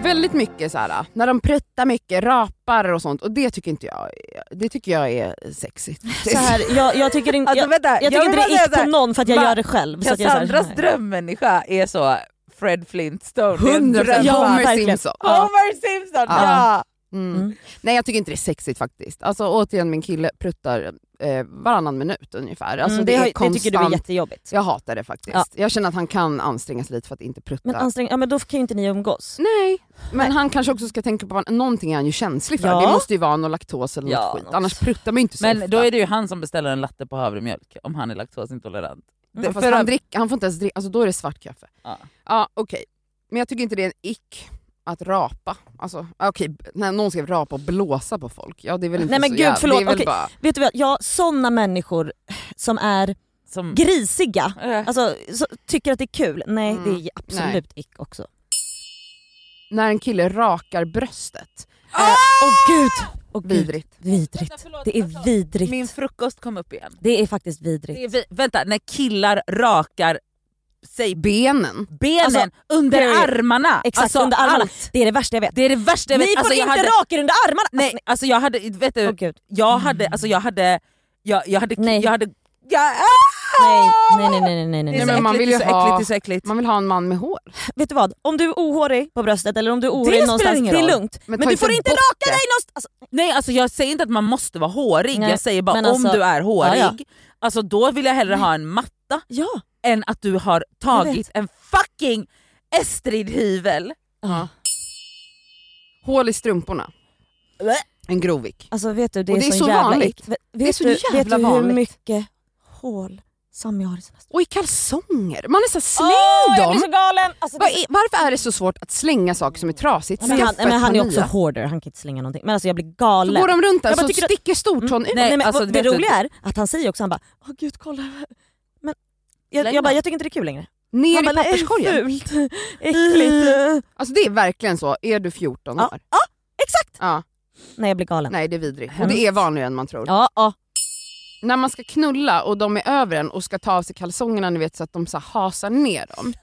Väldigt mycket så här, när de pruttar mycket, rapar och sånt. Och det tycker inte jag, det tycker jag är sexigt. Så här, jag, jag tycker inte, Alltså, jag, vänta, jag tycker vill inte bara det säga är ick så här, på någon för att jag va? gör det själv. Så att jag är så här, Cassandras nej. drömmänniska är så Fred Flintstone. Det är en 100 dröm. Ja, Homer verkligen. Simpson. Homer Simpson! Ja. Ja. Mm. Mm. Nej jag tycker inte det är sexigt faktiskt. Alltså återigen min kille pruttar eh, varannan minut ungefär. Alltså, Mm, det, det, har- är det konstant. tycker du är jättejobbigt. Jag hatar det faktiskt. Ja. Jag känner att han kan anstränga sig lite för att inte prutta. Men alltså- ansträng, ja men då kan ju inte ni umgås. Nej, men han kanske också ska tänka på vad, någonting är han ju känslig för. Ja. Det måste ju vara någon laktos eller Ja, något skit. något. Annars pruttar man ju inte så ofta. Men då är det ju han som beställer en latte på havremjölk om han är laktosintolerant. Mm. Det- Fast för- han, drick, han får inte ens dricka, alltså då är det svart kaffe. Ja. Ja okej, men jag tycker inte det är en ick att rapa. Alltså okej, när någon ska rapa och blåsa på folk, ja det är väl inte Nej, men så gud, jävla- förlåt, Det är väl okej. bara, Vet du vad, ja sådana människor som är som, grisiga, Äh. alltså så, tycker att det är kul. Nej Mm. det är absolut ick också. när en kille rakar bröstet, Åh gud! Åh gud, vidrigt. vidrigt. Ah! Vänta, förlåt, Det är förlåt. vidrigt. Alltså, Min frukost kom upp igen. Det är faktiskt Det vidrigt. är vi, vänta, när killar rakar sig Benen. benen Alltså, under period. armarna. Exakt, alltså, under armarna. Allt. Det är det värsta jag vet. Det är det värsta jag Ni vet. får Alltså, jag inte hade, raka er under armarna! nej, alltså jag hade, vet Åh du, gud. jag hade, alltså jag hade, jag, jag hade, Nej. jag hade, jag, ah! Nej, nej nej nej nej nej. Det är nej. så men man äckligt, vill det är ju så ha- äckligt, det är så äckligt. Man vill ha en man med hår. Vet du vad? Om du är ohårig på bröstet eller om du är ohårig spelar någonstans, ingen det är roll. lugnt. Men, ta du får inte bort raka det. dig någonstans! Alltså, Nej alltså jag säger inte att man måste vara hårig, Nej, jag säger bara men om alltså- du är hårig, Ja, alltså då vill jag hellre ha en matta ja. än att du har tagit en fucking Estrid-hyvel. Hål i strumporna. Blä. En grovik. Alltså vet du, det är, Och det är så jävla vanligt. ick. Vet, är så du, vet jävla du hur vanligt. mycket hål Sami har i sina strumpor? Och i kalsonger. Man är såhär, släng dem! galen! Alltså, Vad är, varför är det så svårt att slänga saker som är trasigt? men han, Skaffa men ett han är par också nya. hoarder, han kan inte slänga någonting. Men alltså jag blir Så galen. går de runt där Jag bara så tycker att- Mm. sticker stortån ut. Nej, men, alltså, och det vet du- roliga är att han säger också, han bara åh gud kolla. Men jag, Släng jag, bara, dem. jag tycker inte det är kul längre. Ner i bara, "Nej, papperskorgen. Fult, äckligt. Alltså det är verkligen så, är du 14 Ja. år. Exakt! Ja. Nej jag blir galen. Nej det är vidrigt. Och Hemskt. det är vanligare än man tror. Ja, ja. När man ska knulla och de är över en och ska ta av sig kalsongerna ni vet, så att de så här hasar ner dem.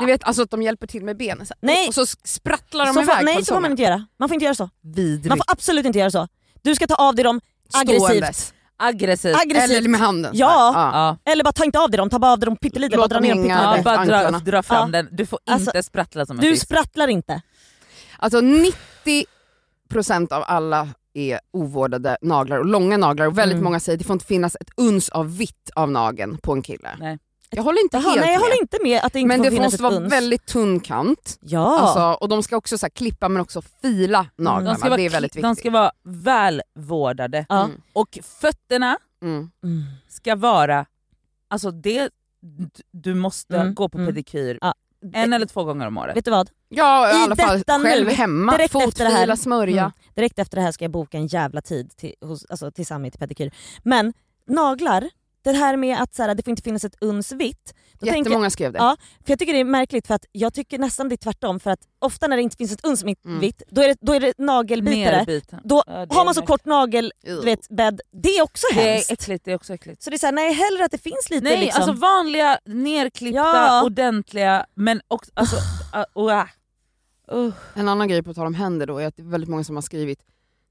Ni vet alltså att de hjälper till med benen. Så här, Nej. Och så sprattlar de Så iväg får, nej så får kalsongerna. man inte göra. Man får inte göra så. Man Vidrigt. får absolut inte göra så. Du ska ta av dig dem aggressivt. Ståendes. Aggressivt. aggressivt. Eller med handen. så Ja. här. ja. Eller bara ta inte av dig dem, ta bara av dig dem pyttelite. Låt Bara dra dem ner dem hänga. pyttelite. Ja, bara vet, dra, anklarna. dra fram Ja. den, du får Alltså, inte sprattla som en Du fisk. sprattlar inte. Alltså 90% av alla är ovårdade naglar och långa naglar och väldigt Mm. många säger att det får inte finnas ett uns av vitt av nageln på en kille. Nej. Jag håller inte Jaha, helt nej jag med. håller inte med att det inte men får det finnas måste ett vara uns. väldigt tunn kant. Ja, Mm, Alltså, och de ska också så här klippa men också fila naglarna. de ska, vara, det är väldigt de ska viktigt. vara välvårdade ja. Mm. och fötterna Mm. Mm. ska vara, alltså det, du måste Mm, gå på mm. pedikyr Ja. en eller två gånger om året. Vet du vad? Ja i I alla fall detta nu, själv hemma. direkt efter det här. Fotfila, smörja. Mm. Direkt efter det här ska jag boka en jävla tid till, hos, alltså, till Sami till pedikyr. Men naglar, det här med att så här, det får inte finnas ett uns vitt. Då tänker jag, Jättemånga skrev det. Ja. för jag tycker det är märkligt för att jag tycker nästan det är tvärtom för att ofta när det inte finns ett uns mitt- Mm. vitt då är det, då är det nagelbitare. Nerbiten. Då Ja, det har är man så märkligt. kort nagel, du vet, bädd. Det är också Det hemskt. är äckligt, det är också äckligt. Så det är såhär, nej hellre att det finns lite Nej liksom. alltså vanliga, nerklippta, Ja. ordentliga men också... Alltså, ah, oh, ah. Uh, En annan grej på att tal om händer då är att det är väldigt många som har skrivit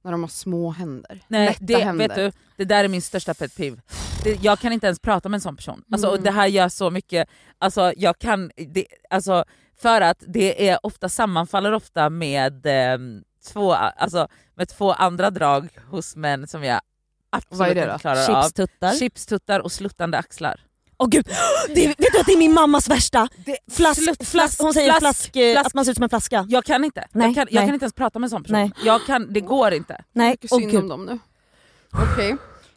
när de har små händer. nej, Lätta det, händer. vet du, det där är min största pet peeve. Det, jag kan inte ens prata med en sån person. Alltså, och det här gör så mycket, alltså, jag kan, det, alltså, för att det är ofta, sammanfaller ofta med, ehm, två, alltså, med två andra drag hos män som jag Vad är absolut det inte då? klarar av. Chipstuttar. Chipstuttar och sluttande axlar. Åh gud, det, vet du att det är min mammas värsta? Flask, Slut- flask, hon säger flask, eh, flask. att man ser ut som en flaska. Jag kan inte. Nej, jag, kan, jag nej. kan inte ens prata med en sån person. Nej. Jag kan, det går inte. Nej, Tycker åh synd om gud. dem nu. Okej.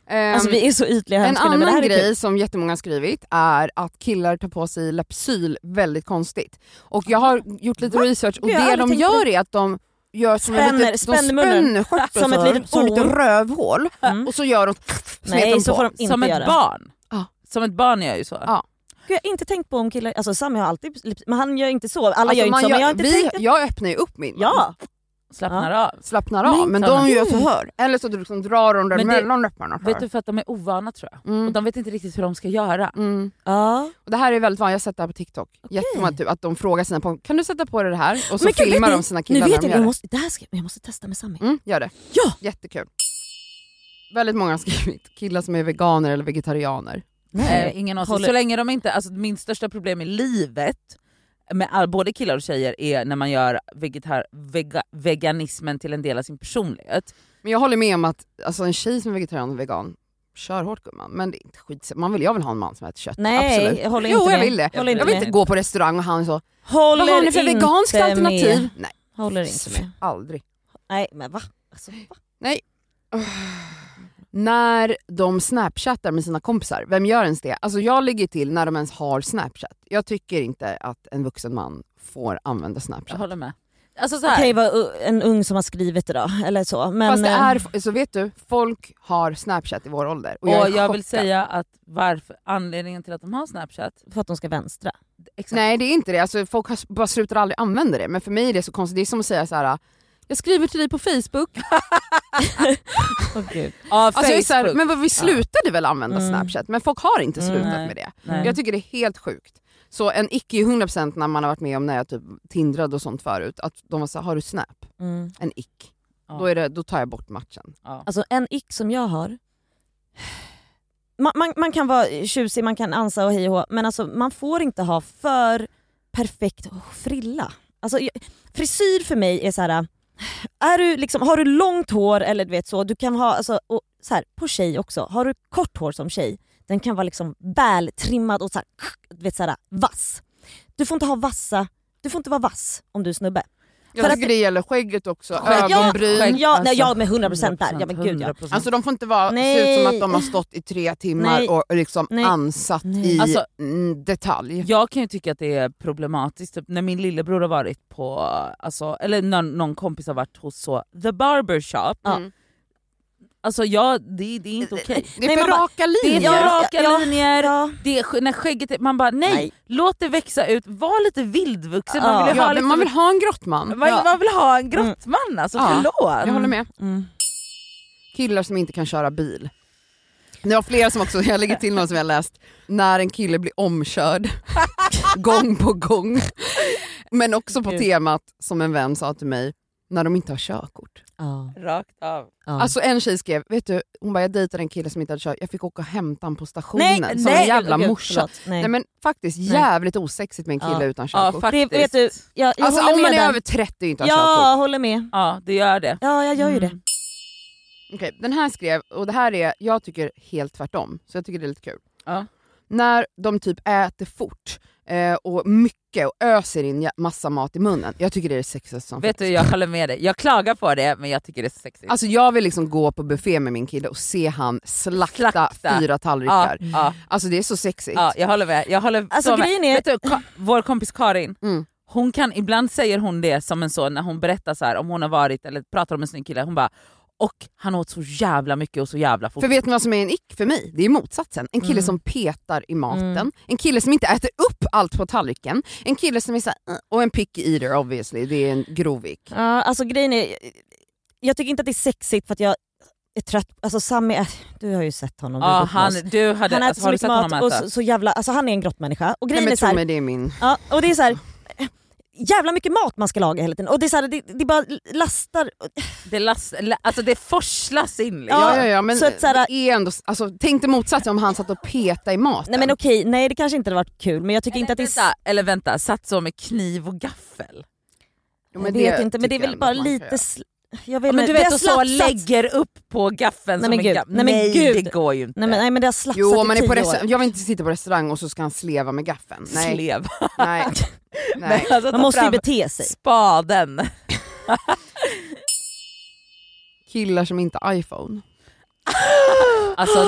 Ehm, Alltså vi är så ytliga en hönskor nu, men det annan här är kul. grej som jättemånga har skrivit är att killar tar på sig Lypsyl väldigt konstigt. Och jag har gjort lite research och Gud, jag har det aldrig de tänkt gör är att de gör som en Spänner- litet, spänner de munnen. spänner stjärten Som ett så här, litet som ett O. litet rövhål Mm. och så gör de smetar de Nej så på. får de inte Som ett göra. barn. Ja. Som ett barn gör jag ju så. Ja. Gud, jag har inte tänkt på om killar, alltså Sami har alltid, men han gör inte så, alla Alltså, gör inte man så men jag har inte vi, tänkt jag öppnar ju upp min. Ja! Mm. slappnar av. slappnar av. Nej, Men sådana. de gör förhör. Eller så att du liksom drar dem där Men det- mellan läpparna. Vet du för att de är ovana tror jag. Mm. Och de vet inte riktigt hur de ska göra. Mm. Ja. Och det här är väldigt vanligt, jag har sett det här på TikTok. Jättemånga typ, att de frågar sina pojkar, kan du sätta på dig det här? Och så Men gud, filmar vet de ni- sina Nu killar när vet de jag, gör jag det. måste, det här ska, jag måste testa med Sami. Mm, gör det. Ja! Jättekul. Väldigt många har skrivit killar som är veganer eller vegetarianer. Eh, ingen aning. Håller- Så länge de inte, alltså min största problem i livet med all, både killar och tjejer är när man gör vegetar, vega, veganismen till en del av sin personlighet. Men jag håller med om att alltså, en tjej som är vegetarian och vegan, kör hårt gumman. Men det är inte skit. Man vill, jag vill ha en man som äter kött. Nej, Absolut. jag håller jo, inte jag med. vill det. Jag håller Jag inte vill inte med. gå på restaurang och han så, Håller vad har ni för inte veganskt med. alternativ? Nej, Håller inte med. aldrig. Nej men va? Alltså, va? När de snapchattar med sina kompisar, vem gör ens det? Alltså jag ligger till när de ens har snapchat. Jag tycker inte att en vuxen man får använda Jag snapchat. håller med. Alltså så Det här, kan ju vara uh, en ung som har skrivit det då, eller så. Men, Fast det eh, är, så vet du, folk har snapchat i vår ålder. och jag, är vill chockad. säga att varför, anledningen till att de har snapchat, För att de ska vänstra. exakt, Nej det är inte det, alltså, folk har, bara slutar aldrig använda det. Men för mig är det så konstigt, det är som att säga så här. alltså, jag skriver till dig på Facebook. av Alltså, jag är Facebook. så här, men vad, vi slutade väl använda Mm. snapchat, men folk har inte Mm, slutat nej, med det. nej. Jag tycker det är helt sjukt. Så en icke är 100% när man har varit med om när jag typ tindrade och sånt förut, att de var så här, har du snap? Mm. En ick. Ja. Då, är det, då tar jag bort matchen. ja. Alltså en ick som jag har, man, man, man kan vara tjusig, man kan ansa och hej och hå, men alltså, man får inte ha för perfekt frilla. Alltså, jag- frisyr för mig är så här. Är du liksom, har du långt hår eller du vet så, du kan ha, alltså, och så här, på tjej också, har du kort hår som tjej, den kan vara liksom vältrimmad och så här, du vet, så här, vass. Du får inte ha vassa, du får inte vara vass om du är snubbe. Jag För tycker att- det gäller skägget också, Skägg, ja, ögonbryn. skägg. Ja, nej, jag är med 100%, 100% där. Ja, men gud, ja. 100%. Alltså de får inte vara, se Mm. ut Nej. som att de har stått i tre timmar Nej. och liksom Nej. ansatt Nej. i Alltså- mm, detalj. Jag kan ju tycka att det är problematiskt typ, när min lillebror har varit på, alltså, eller när någon kompis har varit hos så, the barbershop. Ja. Mm. Alltså ja, det, det är Eh, inte okej. Det är Nej, för man bara- raka Det är linjer. för raka Ja, linjer, Ja. det är, sk- när skägget är, man bara nej, Nej. låt det växa ut, var lite vildvuxen. Ja. Man vill ju ja, ha, men liksom, man vill ha en grottman. man, man vill ha en grottman alltså, Ja. förlåt. Jag håller med. Mm. Killar som inte kan köra bil. Det var flera som också, jag lägger till någon som jag läst, när en kille blir omkörd gång på gång. Men också på temat som en vän sa till mig, när de inte har körkort. Ja. Rakt av. Ja. Alltså en tjej skrev, vet du, hon bara jag dejtade en kille som inte hade kört, jag fick åka och hämta honom på stationen Nej, som en nej, jävla gud, morsa. förlåt. Nej. Nej men faktiskt jävligt osexigt med en Ja. kille utan Ja körkort. faktiskt. Det, vet du, jag, jag alltså håller om man med är där. över 30 och inte har körkort. Ja, jag håller med. Ja det gör det. Ja, jag gör ju det. Mm. Okej, den här skrev, och det här är, jag tycker helt tvärtom, så jag tycker det är lite kul. Ja. När de typ äter fort eh, och mycket och öser in jä- massa mat i munnen. Jag tycker det är det sexigaste som Vet finns. du jag håller med dig, jag klagar på det men jag tycker det är sexigt. Alltså jag vill liksom gå på buffé med min kille och se han slakta, Slakta. fyra ja, tallrikar. ja, Alltså det är så sexigt. ja, jag håller med. Jag håller Alltså, så med. grejen är- Vet du, Ka- vår kompis Karin, Mm. hon kan, ibland säger hon det som en sån när hon berättar så här, om hon har varit eller pratar om en snygg kille, hon bara och han åt så jävla mycket och så jävla fort. För vet ni vad som är en ick för mig? Det är motsatsen. En kille Mm. som petar i maten, Mm. en kille som inte äter upp allt på tallriken, en kille som är såhär, och en picky eater obviously, det är en grov ick. Ja, alltså grejen är, jag tycker inte att det är sexigt för att jag är trött. Alltså Sami, är, du har ju sett honom. du har ja, bott med han, oss. du hade, han äter alltså, så har du mycket sett mat honom och äta? så, så jävla, alltså han är en grottmänniska. Och Nej, grejen men är så tro här, mig det är min. Ja, och det är så här, jävla mycket mat man ska laga hela tiden. Och det är så här, det, det bara lastar. Det, last, la- alltså det forslas in. liksom. Ja, ja, ja, men så att såhär- det är ändå, alltså, tänk dig motsatsen om han satt och petade i maten. Nej men okej, nej det kanske inte hade varit kul men jag tycker inte att det är... s- Vänta, eller vänta, satt så med kniv och gaffel. Jo, jag men vet inte men det är tycker jag väl ändå bara att man kan lite... göra. sl- Jag vet, Ja, men inte, det du vet har och så slafsats- lägger upp på Nej, gaffeln som men en gud. gaffel. Nej, men det gud. går ju inte. Nej men, nej, men det har slafsat Jo, om man i är på tio år. restaurang, jag vill inte sitta på restaurang och så ska han sleva med gaffeln. Nej, Slev. nej, nej. Alltså, Man ta måste ju fram bete sig. Spaden. Killar som inte har iPhone. Alltså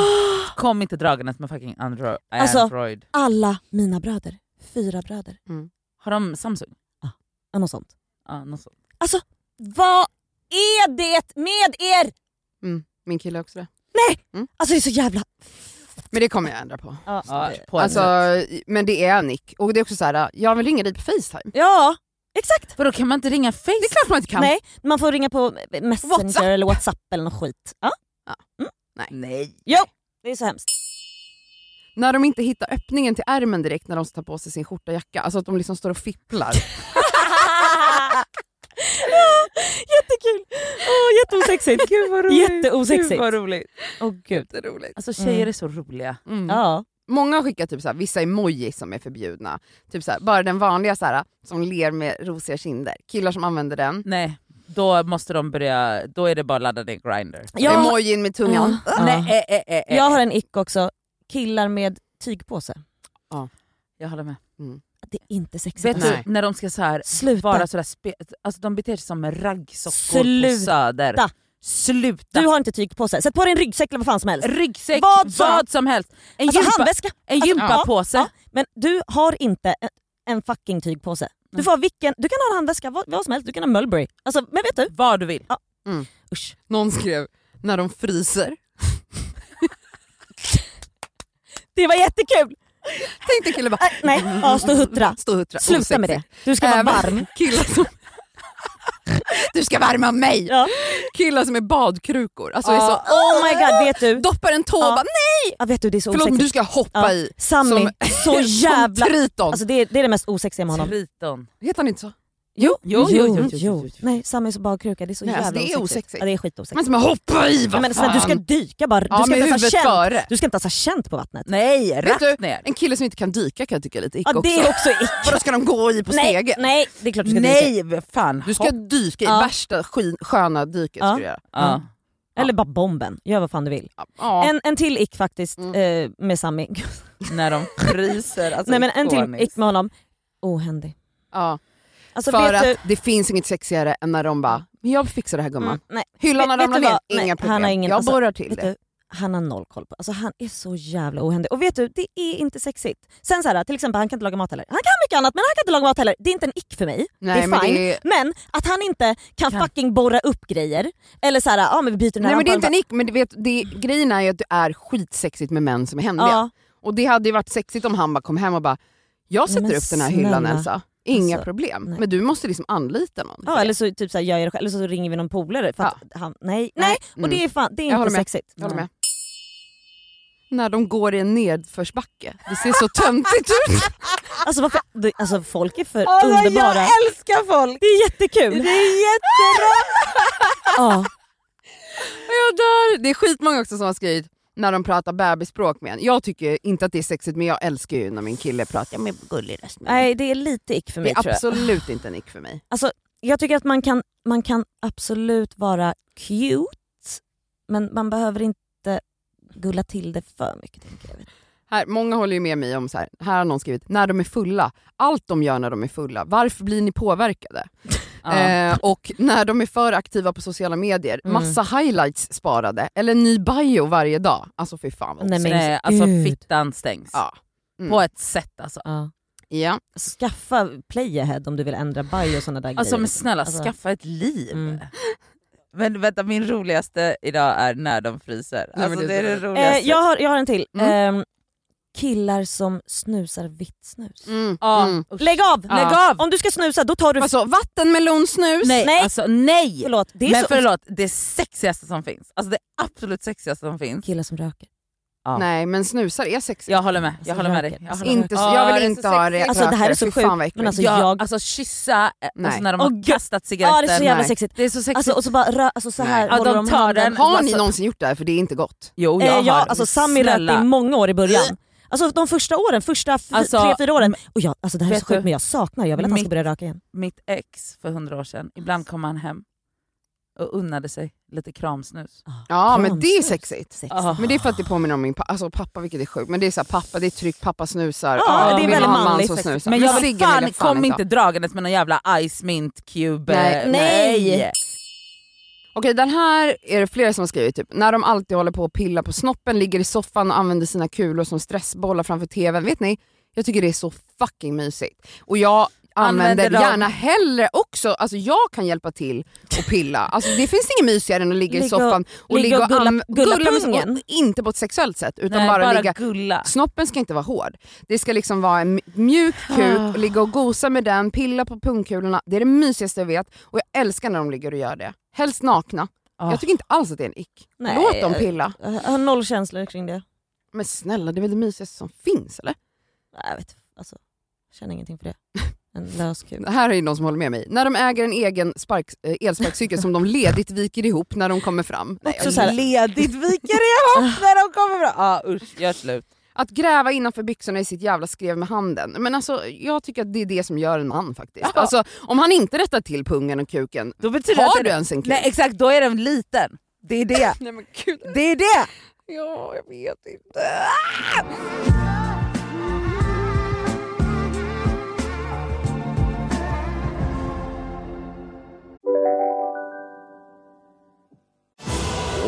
kom inte dragandes med fucking Andro- eh, Alltså- Android. alla mina bröder, fyra bröder, Har de Samsung? eller något sånt. Ja, något sånt. Vad är det med er? Mm, min kille har också det. Alltså det är så jävla... Men det kommer jag ändra på. Ja, Ja, på en Alltså, minut. men det är en nick. Och det är också så här, jag vill ringa dig på Facetime. ja Exakt! För då kan man inte ringa Face? Det är klart man inte kan. Nej, man får ringa på Messenger WhatsApp. eller Whatsapp eller något skit. Ja, Nej. det är så hemskt. När de inte hittar öppningen till ärmen direkt när de ska ta på sig sin skjorta och jacka, alltså att de liksom står och fipplar. Jättekul! Åh, jätteosexigt. Gud vad roligt. Jätteosexigt. Gud vad roligt. Åh gud. Det är roligt. Alltså tjejer Mm. är så roliga. Mm. Ja. Många skickar typ såhär, vissa emojis som är förbjudna. Typ såhär, bara den vanliga såhär, som ler med rosiga kinder. Killar som använder den. Nej, då måste de börja, då är det bara att ladda ner Grindr. Jag, Emojin med tungan. Mm. Nej, eh, eh, eh, eh. Ah. jag har en ick också, killar med tygpåse. jag håller med. Det är inte sexigt. Vet alltså. Nej. du när de ska så här Sluta. vara sådär, spe- alltså de beter sig som raggsockor på Sluta. söder. Sluta! Du har inte tygpåse, sätt på dig en ryggsäck eller vad fan som helst. Ryggsäck, vad Vad som, som- helst. En, Alltså gympa, handväska. en alltså, gympapåse. Ja, men du har inte en- en fucking tygpåse. Du, får ha vilken, du kan ha en handväska, vad, vad som helst, du kan ha Mulberry. Alltså, men vet du? Vad du vill. Usch. Någon skrev, när de fryser. Det var jättekul! Tänk dig killar bara, Äh, nej, ja, stå och huttra. stå och huttra. Sluta med det. Du ska vara Även varm. Killar som... du ska värma mig! Ja. Killar som är badkrukor. Alltså är Ja, så, oh my god, vet du? Doppar en tå Ja. bara, nej Ja, vet du det är så förlåt men du osexigt. ska hoppa Ja. i. Sammy, så jävla... Som triton. Alltså det, är, det är det mest osexiga med honom. Triton. Heter han inte så? Jo, Mm, jo, jo, jo, jo, jo, jo. Nej, Sammy är så badkruka, det är så Nej, jävla alltså det är osexigt. Ja, det är Men skitosexigt. som hoppa i, Ja, vad men fan. snälla, du ska dyka bara, du ja, ska med inte ens ha huvudet känt. före. Du ska inte ens ha känt på vattnet. Nej, Vet rakt du, ner. en kille som inte kan dyka kan jag tycka är lite ick Ja, också. det är också ick. Vadå ska de gå i på Nej, stegen? nej, det är klart du ska dyka. Nej, vad fan. Du ska Hopp. dyka i Ja. värsta skin, sköna dyket. Ja. Ska du göra. Ja. Mm. Eller bara bomben, gör vad fan du vill. Ja. En, en till ick faktiskt Mm. Alltså, eh, med Sami. När de fryser. Alltså, Nej men en till ikoniskt. ick med honom. Ohändig. Ja. Alltså, För vet att du, det finns inget sexigare än när de bara “men jag fixar det här gumman”. mm, nej, Hyllan har Vet- vet ramlat du ner, vad? Nej, inga han problem. har ingen- jag alltså, borrar till vet det. du, han har noll koll på Alltså han är så jävla ohändig. Och vet du, det är inte sexigt. Sen så här, till exempel han kan inte laga mat heller. Han kan mycket annat men han kan inte laga mat heller. Det är inte en ick för mig. Nej, det är men fine. det är- Men att han inte kan, Kan. fucking borra upp grejer. Eller så här, ja men vi byter den här Nej men det är inte lampan. en ick, men du vet, det, grejen är ju att det är skitsexigt med män som är händiga. Ja. Och det hade ju varit sexigt om han bara kom hem och bara “jag Nej, sätter men upp den här hyllan snälla. Elsa, inga Alltså, problem”. nej. Men du måste liksom anlita någon. Ja, eller så, typ så här, gör jag det själv, eller så ringer vi någon polare. För att han, nej, nej. Och det är, fan, det är Mm. Jag inte håller med. sexigt. Jag håller med. När de går i en nedförsbacke. Det ser så töntigt ut. Alltså, varför, du, alltså folk är för Alltså, underbara. Jag älskar folk! Det är jättekul. Det är jätte... Ja. Jag dör. Det är skitmånga också som har skrivit när de pratar bebisspråk med en. Jag tycker inte att det är sexigt men jag älskar ju när min kille pratar med gullig röst. med mig. Nej det är lite ick för Det mig är tror jag. absolut inte en nick för mig. Jag tycker att man kan, man kan absolut vara cute men man behöver inte gulla till det för mycket. Tänker jag. Här, många håller ju med mig om så här, här har någon skrivit, när de är fulla, allt de gör när de är fulla, varför blir ni påverkade? Ja. Eh, och när de är för aktiva på sociala medier, Mm. massa highlights sparade, eller ny bio varje dag. Alltså fy fan vad Nej, men- Nej, alltså Gud. fittan stängs. Ja. Mm. På ett sätt alltså. Ja. Ja. Skaffa playahead om du vill ändra bio och sådana där Alltså men grejer. snälla, Alltså- skaffa ett liv. Mm. Men vänta, min roligaste idag är när de fryser. men Alltså, det det är är det så- roligaste. Eh, jag, har, jag har en till. Mm. Ehm, killar som snusar vitt snus. Mm. Ja. Mm. Usch. Lägg av! Lägg av! Om du ska snusa då tar du... Alltså vattenmelonsnus. Nej, Nej. alltså nej! Förlåt, det är Men så... förlåt, det sexigaste som finns. Alltså det absolut sexigaste som finns. Killar som röker. Ja. Nej men snusar är sexigt. Jag håller med. Alltså, Jag håller med dig. röker. Jag, håller med. Inte, så- Ja, jag vill det är inte så ha sexigt. det Alltså, det här är så sjukt, Fan vad men alltså, äckligt. Ja, jag- alltså kyssa, eh, Nej. alltså, när de Åh, har gud. kastat Ja cigaretten. det är så jävla Nej. sexigt. Det är så sexigt. Alltså, och så bara rö- alltså, så här Nej. Ja, håller de om tar handen. den. Har ni Alltså- någonsin gjort det här? För det är inte gott. jo, Eh, jag ja, har. alltså Sami rökte i många år i Eh. början. Alltså de första åren, första fy- Alltså, tre, fyra åren. Och jag, alltså det här är vet så sjukt du? men jag saknar, jag vill att han ska Mitt- börja röka igen. Mitt ex för hundra år sedan, ibland kom han hem och unnade sig lite kramsnus. Ja men det är Kramsnus. sexigt. Ah, Sex. Ah. Men det är för att det påminner om min pappa, alltså pappa vilket är sjukt, men det är såhär pappa, det är tryggt, pappa snusar. Ah, Ja, jag det är vill väldigt ha en man manligt som faktiskt. snusar. Men jag vill ciggen vill fan, jag fan kom inte dragandes med någon jävla Ice Mint Cube. Nej, eh, nej. Okej den här är det flera som har skrivit, typ, när de alltid håller på och pillar på snoppen, ligger i soffan och använder sina kulor som stressbollar framför tvn. Vet ni, jag tycker det är så fucking mysigt. Och jag använder, Använder dem. gärna hellre också, alltså jag kan hjälpa till och pilla. Alltså det finns inget mysigare än att ligga i Ligga och- soffan och ligga ligga och gulla- anv- gulla med- pungen. och Inte på ett sexuellt sätt utan Nej, bara, ligga... gulla. Snoppen ska inte vara hård. Det ska liksom vara en mjuk kuk, Ah. och ligga och gosa med den, pilla på pungkulorna. Det är det mysigaste jag vet och jag älskar när de ligger och gör det. Helst nakna. Ah. Jag tycker inte alls att det är en ick. Nej, Låt dem jag- pilla. Jag har noll känslor kring det. Men snälla, det är väl det mysigaste som finns eller? Nej, Jag vet, alltså, jag känner ingenting för det. En lös kul. Det här är ju någon som håller med mig. När de äger en egen spark, eh, elsparkcykel som de ledigt viker ihop när de kommer fram. Nej, Också så här- Ledigt viker jag ihop när de kommer fram. Ah, usch, gör slut. Att gräva innanför byxorna i sitt jävla skrev med handen. Men alltså, jag tycker att det är det som gör en man faktiskt. Ja. Alltså, om han inte rättar till pungen och kuken, Då betyder det har att du den, ens en kuk? Nej exakt, då är den liten. Det är det. Nej men gud, Det är det! ja, jag vet inte.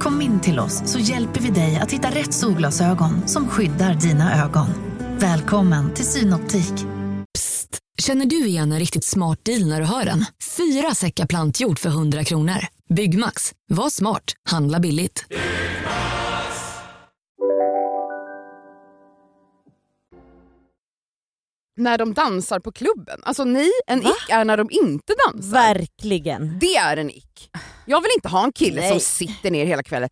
Kom in till oss så hjälper vi dig att hitta rätt solglasögon som skyddar dina ögon. Välkommen till Synoptik. Känner du igen en riktigt smart deal när du hör den? Fyra säckar plantjord för 100 kronor. Byggmax, var smart, handla billigt. När de dansar på klubben. Alltså nej, en ick är när de inte dansar. Verkligen. Det är en ick. Jag vill inte ha en kille som Nej. sitter ner hela kvällen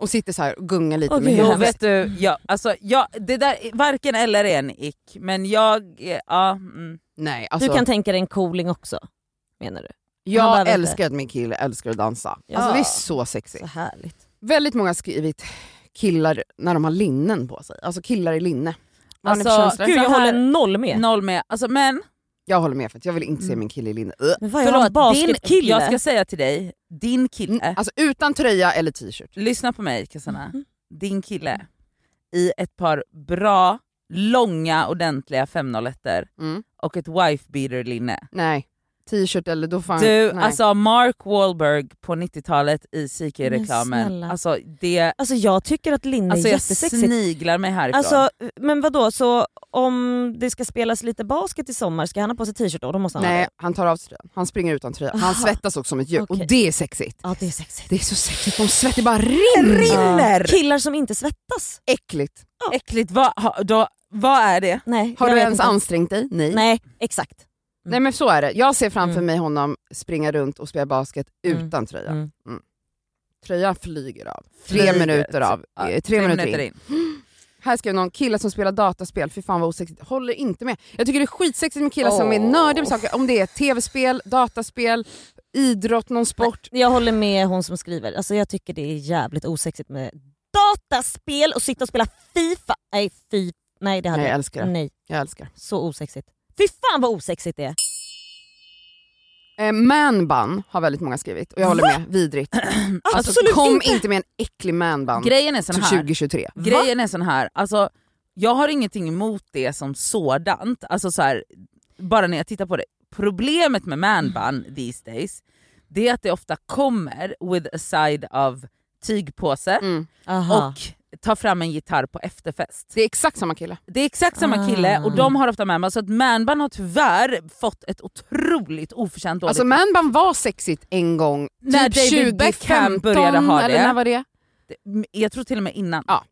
och sitter så här och gungar lite Åh, med gud, Jo hemskt. huvudet. vet du, ja, alltså, ja, det där, varken eller är en ick. Men jag, eh, ja. Mm. Nej, Du alltså, kan tänka dig en cooling också, menar du? han jag behöver inte. älskar att min kille älskar att dansa. Alltså det är så Så sexigt. härligt. Väldigt många har skrivit killar när de har linnen på sig. Alltså killar i linne. Vad har ni för Alltså, känslor? Gud jag så här- håller noll med. Noll med. Alltså, men Jag håller med för att jag vill inte se min kille i linne. Ugh. Men vad är han, förlåt, din, Mm, basketkille? jag ska säga till dig, din kille, Alltså utan tröja eller t-shirt. lyssna på mig Kassana, din kille i ett par bra, långa, ordentliga 501 Mm. och ett wife beater linne. Nej, t-shirt eller då fan... Du, Ah, nej. alltså Mark Wahlberg på 90-talet i Men CK-reklamen, snälla. alltså det Alltså jag tycker att linne Alltså är jag jättesexigt. sniglar mig härifrån. Alltså, men vad då så om det ska spelas lite basket i sommar, ska han ha på sig t-shirt då? Då måste han ha nej, det. han tar av sig tröjan. Han springer utan tröja. Han Aha. svettas också som ett djur Okej. och det är sexigt. Ja det är sexigt. Det är så sexigt, de svettar bara rinner. Ja. Killar som inte svettas. Äckligt. Äckligt, vad, ha, då, vad är det? Nej, Har jag du vet ens inte. ansträngt dig? Nej. Nej exakt. Nej men så är det. Jag ser framför Mm. mig honom springa runt och spela basket Mm. utan tröja. Mm. Tröjan flyger av. Tre Flyger. minuter av. Ja, eh, tre, minuter, in. Här skrev någon, killar som spelar dataspel, fy fan vad osexigt. Håller inte med. Jag tycker det är skitsexigt med killar som är nördiga med saker. Om det är tv-spel, dataspel, idrott, någon sport. Jag håller med hon som skriver, alltså jag tycker det är jävligt osexigt med dataspel och sitta och spela FIFA. Nej fy, nej det hade Nej, jag älskar det. Nej, Jag älskar. så osexigt. Fy fan vad osexigt det är. Eh, manbun har väldigt många skrivit och jag håller med, vidrigt. Alltså, Absolut kom inte. inte. med en äcklig manbun Grejen är Typ sån här, 2023. grejen är sån här alltså, jag har ingenting emot det som sådant, alltså så här, bara när jag tittar på det. Problemet med manbun these days, det är att det ofta kommer with a side of tygpåse Mm. Aha. och tar fram en gitarr på efterfest. Det är exakt samma kille. Det är exakt samma kille Ah. och de har ofta manbun, så att manbun har tyvärr fått ett otroligt oförtjänt dåligt Alltså manbun var sexigt en gång, När typ David Beckham 2015 började ha det. eller när var det? Det- Mm, Jag tror till och med innan. Ja.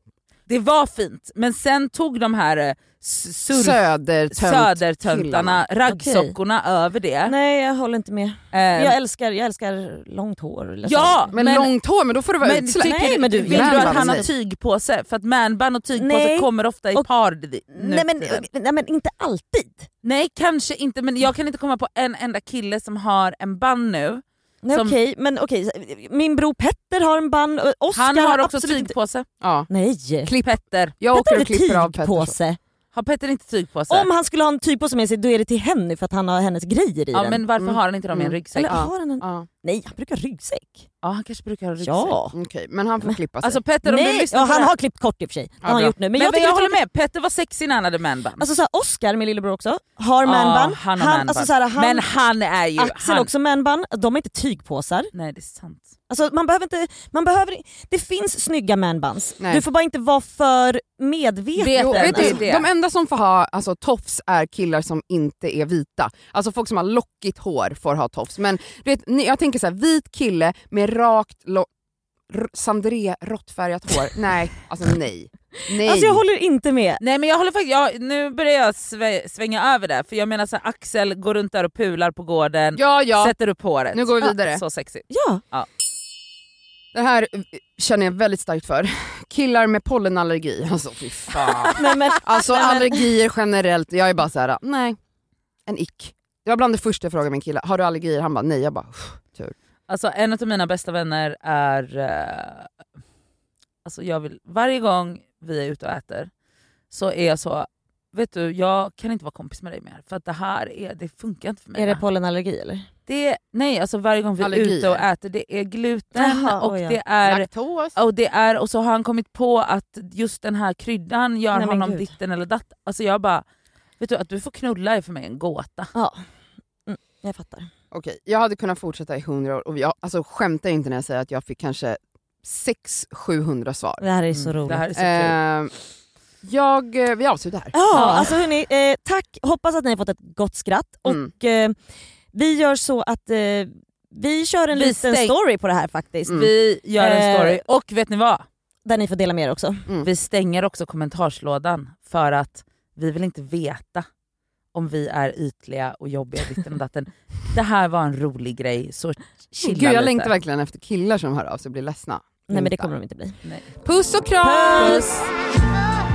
Det var fint, men sen tog de här eh, s- surf- Södertönt. södertöntarna, raggsockorna, över det. Nej jag håller inte med. Äh. Ehm, Jag älskar, jag älskar långt hår. eller så. ja, men, Men, långt hår, men då får du vara men, utsläppt. tycker Nej, men du- vill du Man-bun att han har säger. tygpåse? För att manband och tygpåse Nej. kommer ofta i Och- par di- nu Nej men, för tiden. nej men inte alltid. Nej kanske inte, men jag kan inte komma på en enda kille som har en band nu. Nej, Som- Okej, men okej. Min bror Petter har en band, Oskar Han har också absolut inte- tygpåse. Ja. Nej! Petter. Jag Petter åker har och klipper av inte Pettersson. tygpåse. Har Petter inte tyg på sig? Om han skulle ha en tyg på sig med sig då är det till Henny för att han har hennes grejer i ja, den. men varför Mm. har han inte dem i en Mm. ryggsäck? Eller Ja. har han en... Ja, Nej han brukar ha ryggsäck. han kanske brukar ha ryggsäck. Ja. Okej, men han får klippa sig. Alltså Petter om du Nej, lyssnar ja, på han det här- har klippt kort i och för sig. Det Ja, har han bra. gjort nu. Men, Men, jag, jag, tycker det är håller tråkigt. med, Petter var sexig när han hade manband. Alltså så här, Oscar, min lillebror också, har Ja, manband. han har manband. Alltså, så här, han, men han är ju... Axel han... också manband. De är inte tygpåsar. Nej det är sant. Alltså, man behöver inte, man behöver, det finns snygga manbands. Nej. Du får bara inte vara för medveten. Vet- Jo, vet Alltså, du, Alltså, det- de enda som får ha alltså, tofs är killar som inte är vita. Alltså folk som har lockigt hår får ha tofs. Men du vet, ni- jag tänker så här, vit kille med rakt, lo- r- sandré råttfärgat hår. Nej, alltså nej. Nej. alltså jag håller inte med. Nej men jag håller faktiskt, jag, nu börjar jag sve, svänga över där för jag menar så här, Axel går runt där och pular på gården, Ja, ja. sätter upp håret. Nu går vi Ah, vidare. Så sexigt. Ja. Det här eh, känner jag väldigt starkt för. Killar med pollenallergi. Alltså fy fan. Nej, men, Alltså Nej, men- allergier generellt, jag är bara så här: nej. En ick. Det var bland det första jag frågade min kille, har du allergier? Han bara nej. Jag bara, "Pff, tur. Alltså en av mina bästa vänner är... Eh, alltså jag vill, varje gång vi är ute och äter så är jag så, vet du jag kan inte vara kompis med dig mer för att det här är, det funkar inte för mig. är det pollenallergi eller? Det- nej alltså varje gång vi är Allergier. oh ute och äter det är gluten Jaha, och oj, ja. det är Laktos. Och, det är, och så har han kommit på att just den här kryddan gör Nej, men honom gud. ditten eller datt. Alltså jag bara, vet du att du får knulla är för mig en gåta. Ja. Mm, jag fattar. Okej, jag hade kunnat fortsätta i 100 år och jag alltså, skämtar inte när jag säger att jag fick kanske 600-700 svar. Det här är så roligt. Mm, Det här är så kul. Eh, jag, eh, vi avslutar här. Ja, Ja. alltså hörni, eh, tack. Hoppas att ni har fått ett gott skratt. Mm. Och eh, vi gör så att eh, vi kör en Vi liten stäng- story på det här faktiskt. Mm. Vi gör en Eh. story och vet ni vad? Där ni får dela med er också. Vi stänger också kommentarslådan för att vi vill inte veta om vi är ytliga och jobbiga ditten och datten. Det här var en rolig grej så chilla Gud, jag lite. längtar verkligen efter killar som hör av sig och blir ledsna. Nej men det Inte. kommer de inte bli. Nej. Puss och kram! Puss! Ah!